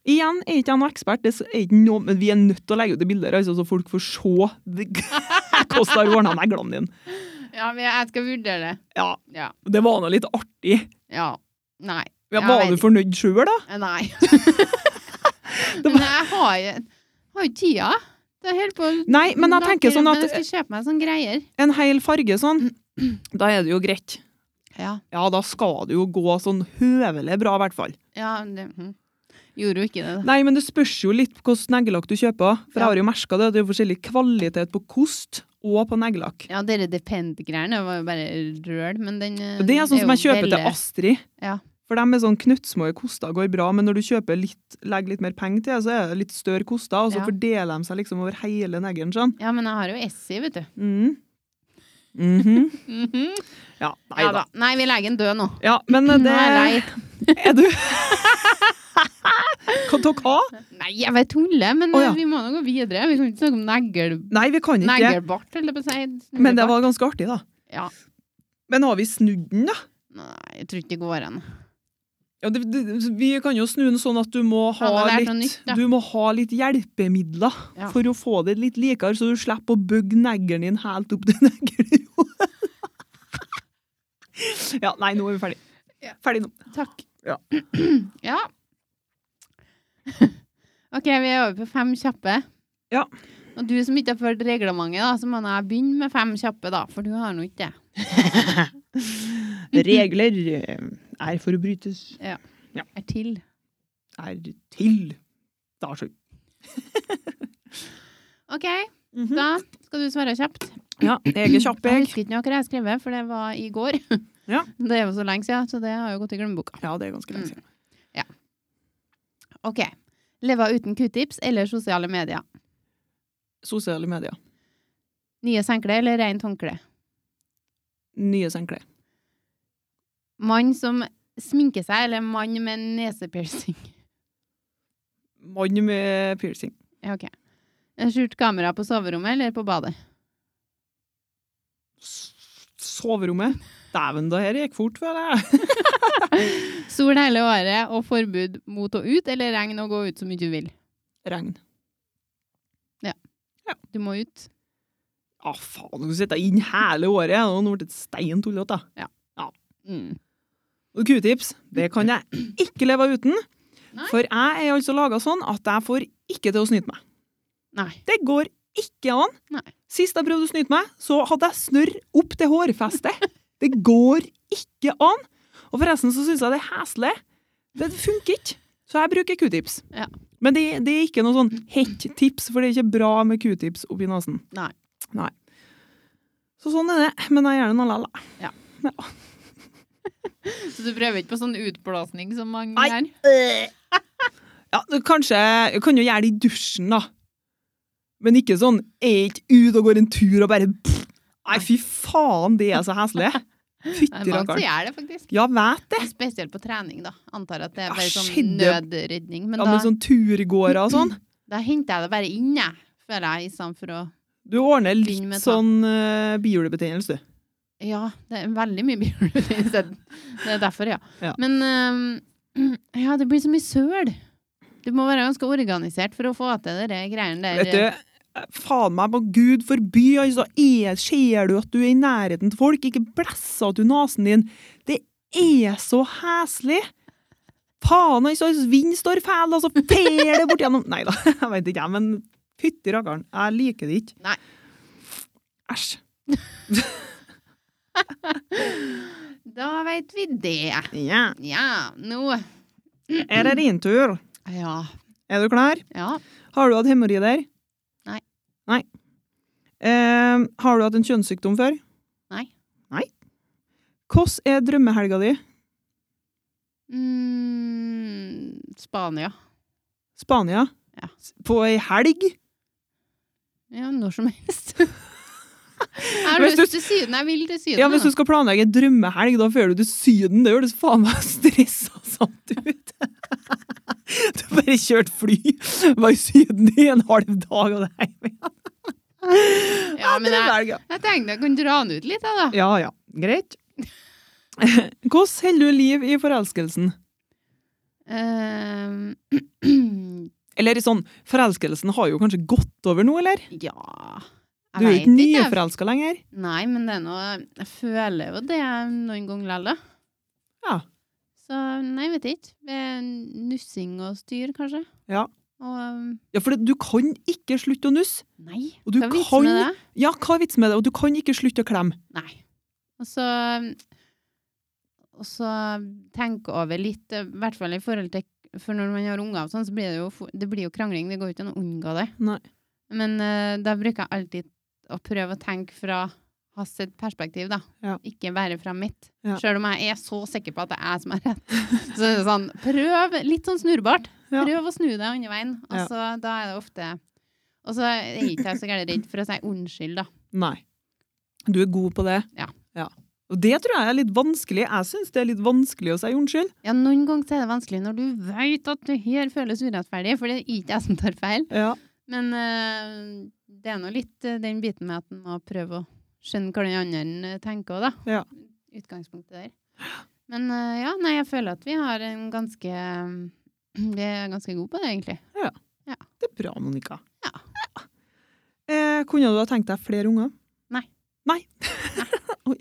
Igjen er ikke jeg noen ekspert, det er ikke noe, men vi er nødt til å legge ut det bildet, her, altså, så folk får se det- hvordan du har ordna neglene dine.
Ja, men jeg skal vurdere det.
Ja,
Ja.
Det var nå litt artig.
Ja. Nei.
Ja,
Ja,
var
jeg
du
vet
fornøyd sjøl, da?
Nei. Men jeg har jo har jo tida. Det er helt på
Nei, men jeg tenker sånn
Men
at
jeg skal kjøpe meg sånne greier.
en hel farge sånn, da er det jo greit.
Ja.
Ja, da skal det jo gå sånn høvelig bra, i hvert fall.
ja det, mhm. Gjorde jo ikke det, da.
Nei, men det spørs jo litt på hvilken neglelakk du kjøper. For jeg
Ja.
har jo merka det. Det er jo forskjellig kvalitet på kost og på neglelakk.
Ja, dere depend-greiene var jo bare røl, men den eh,
Det er sånn som jeg
jo
kjøper til
veldig-
Astrid.
Ja.
For de er sånn knøttsmå koster går bra, men når du kjøper litt, legger litt mer penger til, så er det litt større koster, og så
Ja.
fordeler de seg liksom over hele neglen sånn.
Ja, men jeg har jo Essi, vet du.
Mm. Mhm.
Mhm.
Ja, nei
Ja
da.
da. Nei, vi legger den død nå.
Ja, men eh,
Nå
det
er jeg lei.
Er du Hva tok hva?
Nei, jeg vet tuller, men
Å, ja.
eh, vi må nå gå videre. Vi kan ikke snakke om negl...
Nei, vi kan ikke.
neglebart, holdt jeg på å si.
Men det
Snuglebart.
var ganske artig, da.
Ja.
Men har vi snudd den, da?
Nei, jeg tror ikke det går an.
Ja, det, det, vi kan jo snu den sånn at du må ha,
Han har lært
litt,
noe nytt, ja.
du må ha litt hjelpemidler
Ja.
for å få det litt likere, så du slipper å bygge neglen din helt opp til neglen. ja, nei, nå er vi ferdig.
Ja.
Ferdig nå.
Takk.
Ja.
Ja. OK, vi er over på fem kjappe.
Ja.
Og du som ikke har fulgt reglementet, da, så må jeg begynne med fem kjappe, da. For du har nå ikke det. Mhm.
Regler eh, er for å brytes.
Er til.
Er til. Da er sju.
OK, da skal du svare kjapt.
Ja, jeg er kjapp,
Jeg
jeg.
husker ikke noe hva jeg har skrevet, for det var i går.
Ja.
Det er jo så lenge siden, så det har jo gått i glemmeboka.
Ja, det er ganske
Mm.
lenge siden.
OK. Leve uten q-tips eller sosiale medier.
Sosiale medier.
Nye senkle eller rent håndkle.
Nye senkler.
Mann som sminker seg, eller mann med nesepiercing.
Mann med piercing.
Ja, OK. Skjult kamera på soverommet eller på badet?
S- Soverommet. Dæven, det her gikk fort, føler jeg.
Sol hele året og forbud mot å ut, eller regn og gå ut så mye du vil.
Regn.
Du må ut.
Å, Ah, faen, du sitter inn hele året. Nå har det blitt et stein tullete. da.
Mm.
Og Q-tips, det kan jeg ikke leve uten.
Nei.
For jeg er altså laga sånn at jeg får ikke til å snyte meg.
Nei.
Det går ikke an.
Nei.
Sist jeg prøvde å snyte meg, så hadde jeg snørr opp til hårfestet. Det går ikke an. Og forresten så syns jeg det er heslig. Det funker ikke. Så jeg bruker Q-tips.
Ja.
Men det, det er ikke noe sånn hett tips, for det er ikke bra med Q-tips oppi nesen.
Nei.
Nei. Så sånn er det. Men jeg gjør det nå likevel.
Så du prøver ikke på sånn utblåsning som mange
Nei.
gjør?
Ja, det- kanskje Jeg kan jo gjøre det i dusjen, da. Men ikke sånn jeg er ikke ute og går en tur og bare pff. Nei, fy faen, det er så heslig.
Det er
Fytti
mange som
rakkeren.
gjør det, faktisk.
Ja, vet det.
Og Spesielt på trening, da. Antar at det
Ja,
er bare sånn
Ah, skjedde-
nødredning. Men
Ja, med
da,
sånn turgåere og sånn.
da henter jeg det bare inn, jeg. Føler jeg, i stedet for å
Du ordner
Begynn
litt
med ta.
sånn uh, bihulebetennelse, du.
Ja, det er veldig mye bjørn i stedet. Det er derfor, ja.
Ja.
Men øhm, ja, det blir så mye søl. Du må være ganske organisert for å få til de greiene der.
Vet du, faen meg, på gud forby, altså. Er, ser du at du er i nærheten til folk? Ikke blæsse at du nesen din. Det er så heslig! Faen, altså, hvis vind står fæl, altså, fer det bort gjennom Nei da, jeg vet ikke, jeg, men fytti rakkeren, jeg liker det ikke.
Nei.
Æsj.
Da veit vi det.
Ja,
Ja, nå
er det din tur?
Ja.
Er du klar?
ja.
Har du hatt hemoroider?
Nei.
Nei. Eh, har du hatt en kjønnssykdom før?
Nei.
Nei. Hvordan er drømmehelga di?
Mm, Spania.
Spania?
Ja.
På ei helg?
Ja, når som helst. Jeg har
Hvis
lyst
du-
til Syden. Jeg vil til Syden.
Ja, hvis
jeg,
du skal planlegge en drømmehelg, da fører du til Syden. Det høres faen meg stressa sant ut. Du bare kjørte fly, var i Syden i en halv dag og det er hjem igjen.
nå.
Ah,
ja, men jeg,
Drømmehelga.
jeg tenkte jeg kunne dra den ut litt, jeg, da.
Ja ja, greit. Hvordan holder du liv i forelskelsen?
Ehm,
Eller sånn, forelskelsen har jo kanskje gått over nå, eller?
ja Jeg
Du er
vet
ikke
jeg.
nyforelska lenger.
Nei, men det er noe Jeg føler jo det noen ganger lell, da.
Ja.
Så nei, vet jeg ikke. Det er nussing og styr, kanskje.
Ja.
Og um,
Ja, for det- du kan ikke slutte å nusse.
nei.
Og du
hva er vitsen
kan-
med det?
Ja, hva er vitsen med det? Og du kan ikke slutte å klemme.
Nei. Og så Og så tenke over litt, eh, i hvert fall i forhold til For når man har unger og sånn, så blir det jo, fo- det blir jo krangling. Det går jo ikke an å unngå det.
Nei.
Men eh, da bruker jeg alltid å prøve å tenke fra hans sitt perspektiv, da.
Ja.
Ikke bare fra mitt.
Ja.
Selv om jeg er så sikker på at det er jeg som har rett. Så er det sånn, prøv litt sånn snurrbart.
Ja.
Prøv å snu deg andre veien. Og
Ja.
så da er det ofte Og så er jeg ikke så gærent redd for å si unnskyld, da.
Nei. Du er god på det.
Ja.
Og det tror jeg er litt vanskelig. Jeg syns det er litt vanskelig å si unnskyld.
Ja, noen ganger så er det vanskelig når du veit at det her føles urettferdig, for det er ikke jeg som tar feil.
Ja.
Men eh, det er nå litt eh, den biten med at en må prøve å skjønne hva den andre eh, tenker òg, da.
Ja.
Utgangspunktet der. Men eh, ja, nei, jeg føler at vi har en ganske Vi er ganske gode på det, egentlig.
Det er bra, Monica.
Ja.
Eh, kunne du ha tenkt deg flere unger?
Nei.
Nei. Oi.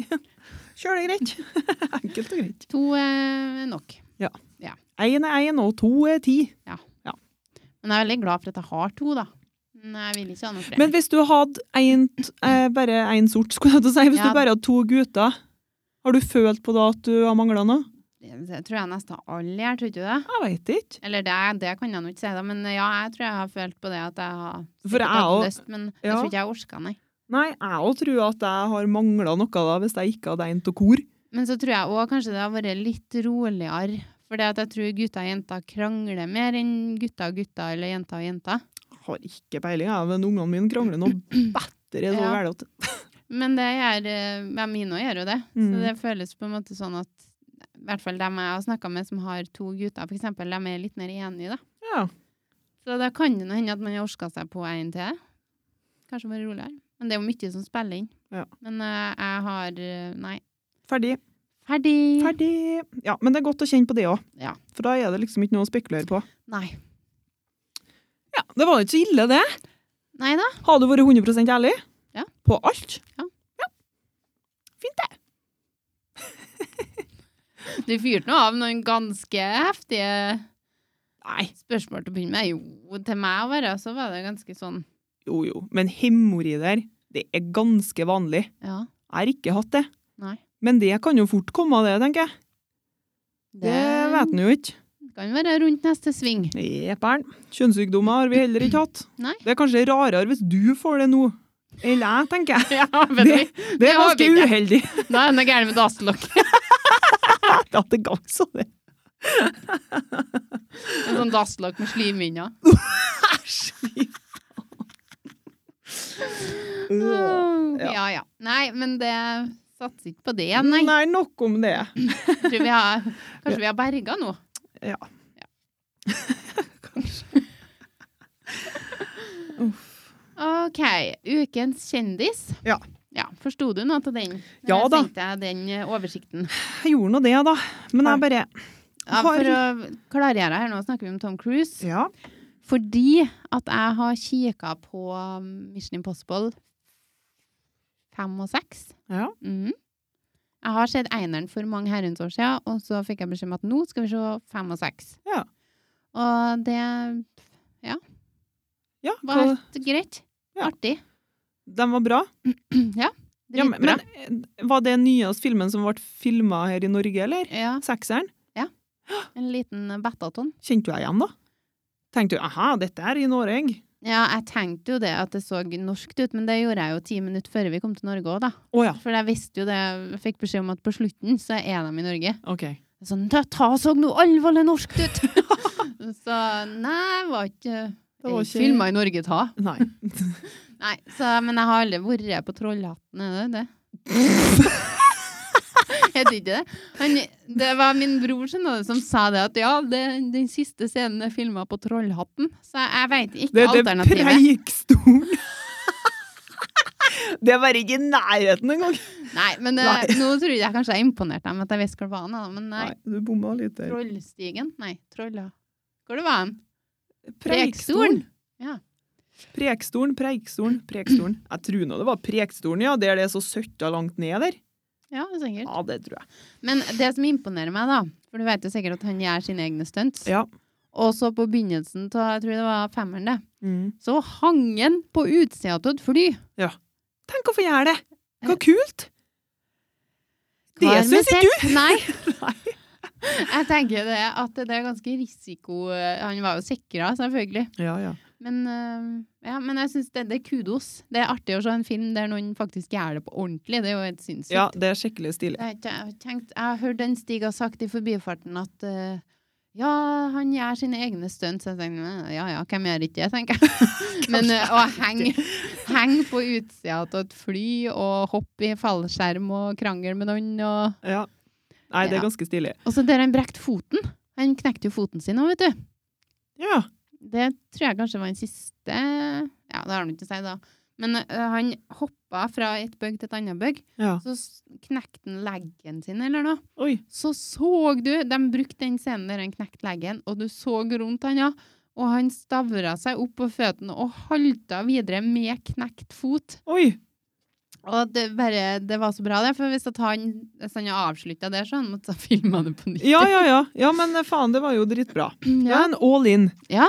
Kjør det greit. Enkelt og greit.
To eh, er nok.
Én er én, og to er ti.
Men jeg er veldig glad for at jeg har to, da. Mm, Nei, jeg vil ikke ha noe
Men
flere.
hvis du hadde en, t- eh, bare én sort, skulle jeg til å si, hvis
Ja.
du bare hadde to gutter, har du følt på da at du har mangla noe?
Det tror jeg nesten alle gjør, tror du ikke det?
Jeg veit ikke.
Eller det, det kan jeg nå ikke si, da, men ja, jeg tror jeg har følt på det at jeg har
For jeg
hatt
òg
lyst, men jeg
ja.
tror ikke jeg orka, nei.
Nei, jeg òg tror at jeg har mangla noe da, hvis jeg ikke hadde en til kor.
Men så tror jeg òg kanskje det har vært litt roligere, for jeg tror gutter og jenter krangler mer enn gutter og gutter eller jenter og jenter.
Har ikke peiling, jeg, men ungene mine krangler nå bedre så
Ja.
vel at
Men det gjør eh, ja, mine òg gjør jo det,
Mm.
så det føles på en måte sånn at i hvert fall dem jeg har snakka med som har to gutter, for eksempel, dem er litt mer enige, da.
Ja.
Så da kan det nå hende at man har orka seg på en til. Kanskje vært roligere. Men det er jo mye som spiller inn.
Ja.
Men eh, jeg har eh, Nei.
Ferdig.
Ferdig.
Mm. Ferdig. Ja, men det er godt å kjenne på det òg.
Ja.
For da er det liksom ikke noe å spekulere på.
Nei.
Ja, Det var jo ikke så ille, det.
Nei da.
Har du vært 100 ærlig?
Ja.
På alt?
Du fyrte nå av noen ganske heftige
Nei.
spørsmål til å begynne med. Jo, til meg å være, så var det ganske sånn
Jo, jo. Men hemoroider, det er ganske vanlig.
Ja.
Jeg har ikke hatt det.
Nei.
Men det kan jo fort komme av det, tenker jeg. Det, vet en jo ikke.
kan være rundt neste sving.
Jepper'n. Kjønnssykdommer har vi heller ikke hatt.
Nei.
Det er kanskje rarere hvis du får det nå. Eller jeg, tenker jeg.
Ja,
Det, det, er
har vi
ganske
ikke.
uheldig.
Da er det noe gærent med dasslokket.
Ja, det ga så det.
En sånn dasslokk med slimhinner.
Æsj! fy faen. Øh.
Åh,
ja.
Ja, ja. Nei, men det satser ikke på det, nei.
Nei, nok om det.
Tror vi har, kanskje vi har berga nå.
Ja.
Ja.
Kanskje. Uff.
OK. Ukens kjendis.
Ja.
Ja, Forsto du noe av den?
Ja
Eller
da.
Tenkte jeg den eh, oversikten.
Jeg gjorde nå det, da. Men jeg bare
Ja,
Har-
for å klargjøre her, nå snakker vi om Tom Cruise.
Ja.
Fordi at jeg har kikka på um, Mission Impossible 5 og 6.
ja.
Mhm. Jeg har sett eineren for mange herrens år siden, og så fikk jeg beskjed om at nå skal vi se 5 og 6.
Ja.
Og det
ja
var
hva-
helt greit.
Ja.
Artig.
de var bra.
Ja,
Ja, men,
dritbra.
men, eh, var det nyeste filmen som ble filma her i Norge, eller?
Ja,
Sekseren?
en liten betaton.
Kjente du deg igjen, da? Tenkte du 'aha, dette er i Norge'?
Ja, jeg tenkte jo det at det så norskt ut, men det gjorde jeg jo ti minutter før vi kom til Norge òg, da.
Å ja.
For jeg visste jo det, jeg fikk beskjed om at på slutten så er de i Norge.
OK.
Sånn, ta, ta så noe alvorlig norskt ut! så nei, var ikke
Det var ikke-
Filma i Norge, ta.
Nei.
Nei, så, men jeg har aldri vært på Trollhatten, er det det? Jeg tror ikke det. Han, det var min bror skjønner du, som sa det, at ja, det, den siste scenen er filma på Trollhatten. Så jeg veit ikke
Det, det er
alternativet.
preikstol! det var ikke i nærheten engang!
Nei, men det,
Nei.
nå trodde jeg kanskje jeg imponerte dem at jeg visste hvor det var han, da, men nei.
du bomma litt der.
Trollstigen? Nei, Trolla... Hvor det var han?
Preikstolen!
Ja.
Preikstolen, preikstolen, preikstolen. Jeg tror nå det var preikstolen, ja. Der det er så søtta langt ned der.
Ja, sikkert.
Ja, det tror jeg.
Men det som imponerer meg, da, for du vet jo sikkert at han gjør sine egne stunts,
Ja.
og så på begynnelsen av, jeg tror det var femmeren, det,
Mm.
så hang han på utsida av et fly.
Tenk å få gjøre det! Hva kult! Det
Hva er med
syns ikke
sex? Nei. Jeg tenker det at det er ganske risiko eh, Han var jo sikra, selvfølgelig.
Ja, ja.
Men, øh, ja, men jeg syns det, det er kudos. Det er artig å se en film der noen faktisk gjør det på ordentlig. Det er jo helt sinnssykt.
Ja, det er skikkelig
Det
stilig.
er ikke- Jeg har tenkt- jeg har hørt den Stig har sagt i forbifarten at eh, ja, han gjør sine egne stunts. Jeg tenker, «Nei, ja ja, hvem gjør ikke det, tenker jeg. Men eh, å henge heng på utsida av et fly og hoppe i fallskjerm og krangle med noen og
Ja. Nei, det
Ja.
er ganske stilig.
Og så der han brekte foten. Han knekte jo foten sin òg, vet du.
Ja.
Det tror jeg kanskje var den siste Ja, det har han ikke å si, da. Men eh, han hoppa fra et bygg til et annet bygg.
ja.
Så s- knekte han leggen sin, eller noe.
Oi.
så så du De brukte den scenen der han knekte leggen, og du så rundt han, ja. Og han stavra seg opp på føttene og halta videre med knekt fot.
Oi.
Og det, bare, det var så bra, det. For hvis, at han, hvis han avslutta det, så han måtte filma det på nytt.
Ja, ja, ja. Ja, men faen, det var jo dritbra. Det
Ja.
er en all in.
Ja.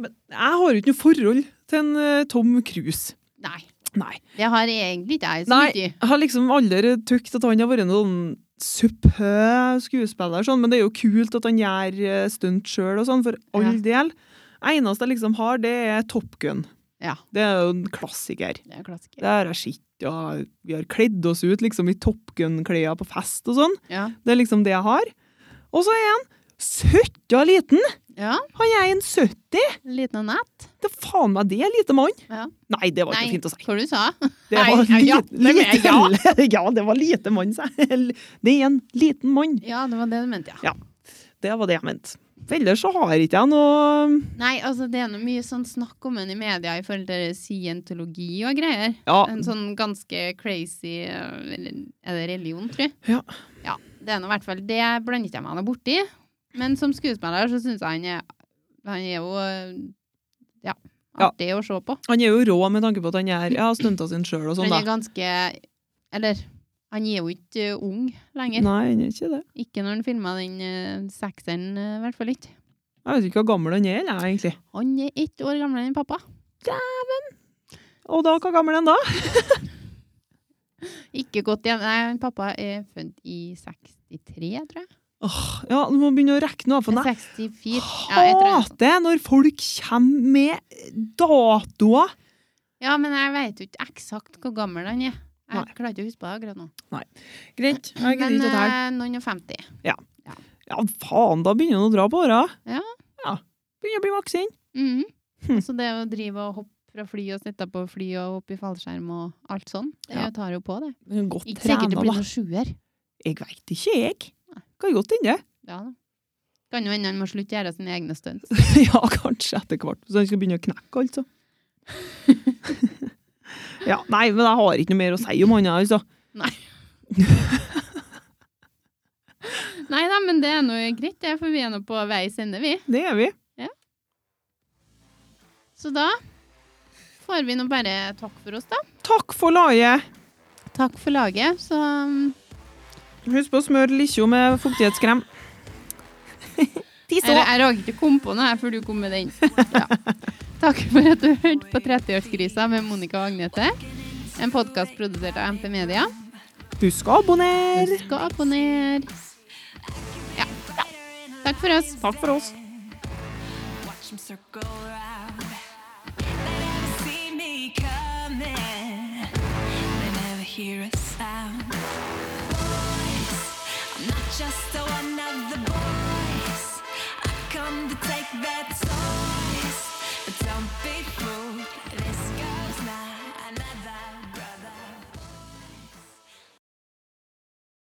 Men jeg har jo ikke noe forhold til en eh, Tom Cruise.
Nei.
Nei.
Det har egentlig ikke jeg så
Nei.
mye.
Jeg har liksom aldri tykt at han har vært noen supø skuespiller, sånn, men det er jo kult at han gjør eh, stunt sjøl og sånn, for all del. Eneste jeg liksom har, det er Top Gun.
Ja.
Det er jo en klassiker.
Det er klassiker.
Det har jeg sett, og vi har kledd oss ut liksom i Top Gun-klær på fest og sånn.
Ja.
Det er liksom det jeg har. Og så er han søtta liten!
ja.
Han er en 70!
Liten og nett.
Det er faen meg det, lite mann!
Ja.
Nei, det var ikke fint å si.
hva du sa
Det
Nei,
var
ja,
lite,
det mener jeg, ja.
lite, ja, det var lite mann, sa jeg. Det er en liten mann.
Ja, det var det du mente, ja.
Det var det jeg mente. For ellers så har ikke jeg noe
Nei, altså det er noe mye sånn snakk om den i media i forhold til scientologi og greier.
Ja,
En sånn ganske crazy eh, eller- Er det religion, tror jeg?
Ja.
ja det er nå i hvert fall Det blander ikke jeg meg noe borti. Men som skuespiller så syns jeg han er Han er jo eh, Ja.
Ja.
Artig å se på.
han er jo rå med tanke på at han gjør ja, stunta sin sjøl og sånn,
Han er
da.
ganske Eller han er jo ikke eh, ung lenger.
Nei, han er ikke det.
Ikke når han filma den eh, sekseren, eh, i hvert fall ikke.
Jeg vet ikke hvor gammel han er, eller, egentlig.
Han er ett år gamlere enn pappa.
Og da, hvor gammel er han da?
Ikke godt igjen. Nei, pappa er født i 63, tror jeg.
Åh, ja, du må begynne å regne nå, for nei.
64. Ja, jeg tror det.
Hater når folk kommer med datoer!
ja, men jeg vet jo ikke eksakt hvor gammel han er. Jeg
Nei.
klarer ikke å huske på det akkurat nå.
Greit. Jeg gidder
Men
ikke å telle.
eh, noen og femti.
Ja, faen, da begynner han å dra på åra.
Ja.
ja. Begynner å bli voksen.
Mhm.
Hm.
Så det å drive og hoppe fra fly og sitte på fly og hoppe i fallskjerm og alt sånn, det
Ja.
tar jo på, det.
Han er Godt
Ikke sikkert det
trena,
blir
da.
noen sjuer.
Jeg veit ikke, jeg. Kan godt hende.
Ja da. Kan jo hende han må slutte å gjøre sine egne stunts.
ja, kanskje etter hvert. Så han skal begynne å knekke, altså. ja, nei, men jeg har ikke noe mer å si om han, jeg, altså.
Nei da, men det er nå greit, det, for vi er nå på veis ende, vi.
Det er vi.
Så da får vi nå bare takk for oss, da.
Takk for laget.
Takk for laget. Så um,
Husk på å smøre likkja med fuktighetskrem.
jeg, jeg rakk ikke å komme på noe her før du kom med den. Ja. Takk for at du hørte på 30-årskrisa med Monica og Agnete. En podkast produsert av MP Media.
Husk å abonnere.
Husk å abonnere. Ja. Takk for oss.
Takk for oss.
Watch them circle around. They never see me coming. They never hear a sound. Boys, I'm not just the one of the boys. I come to take that.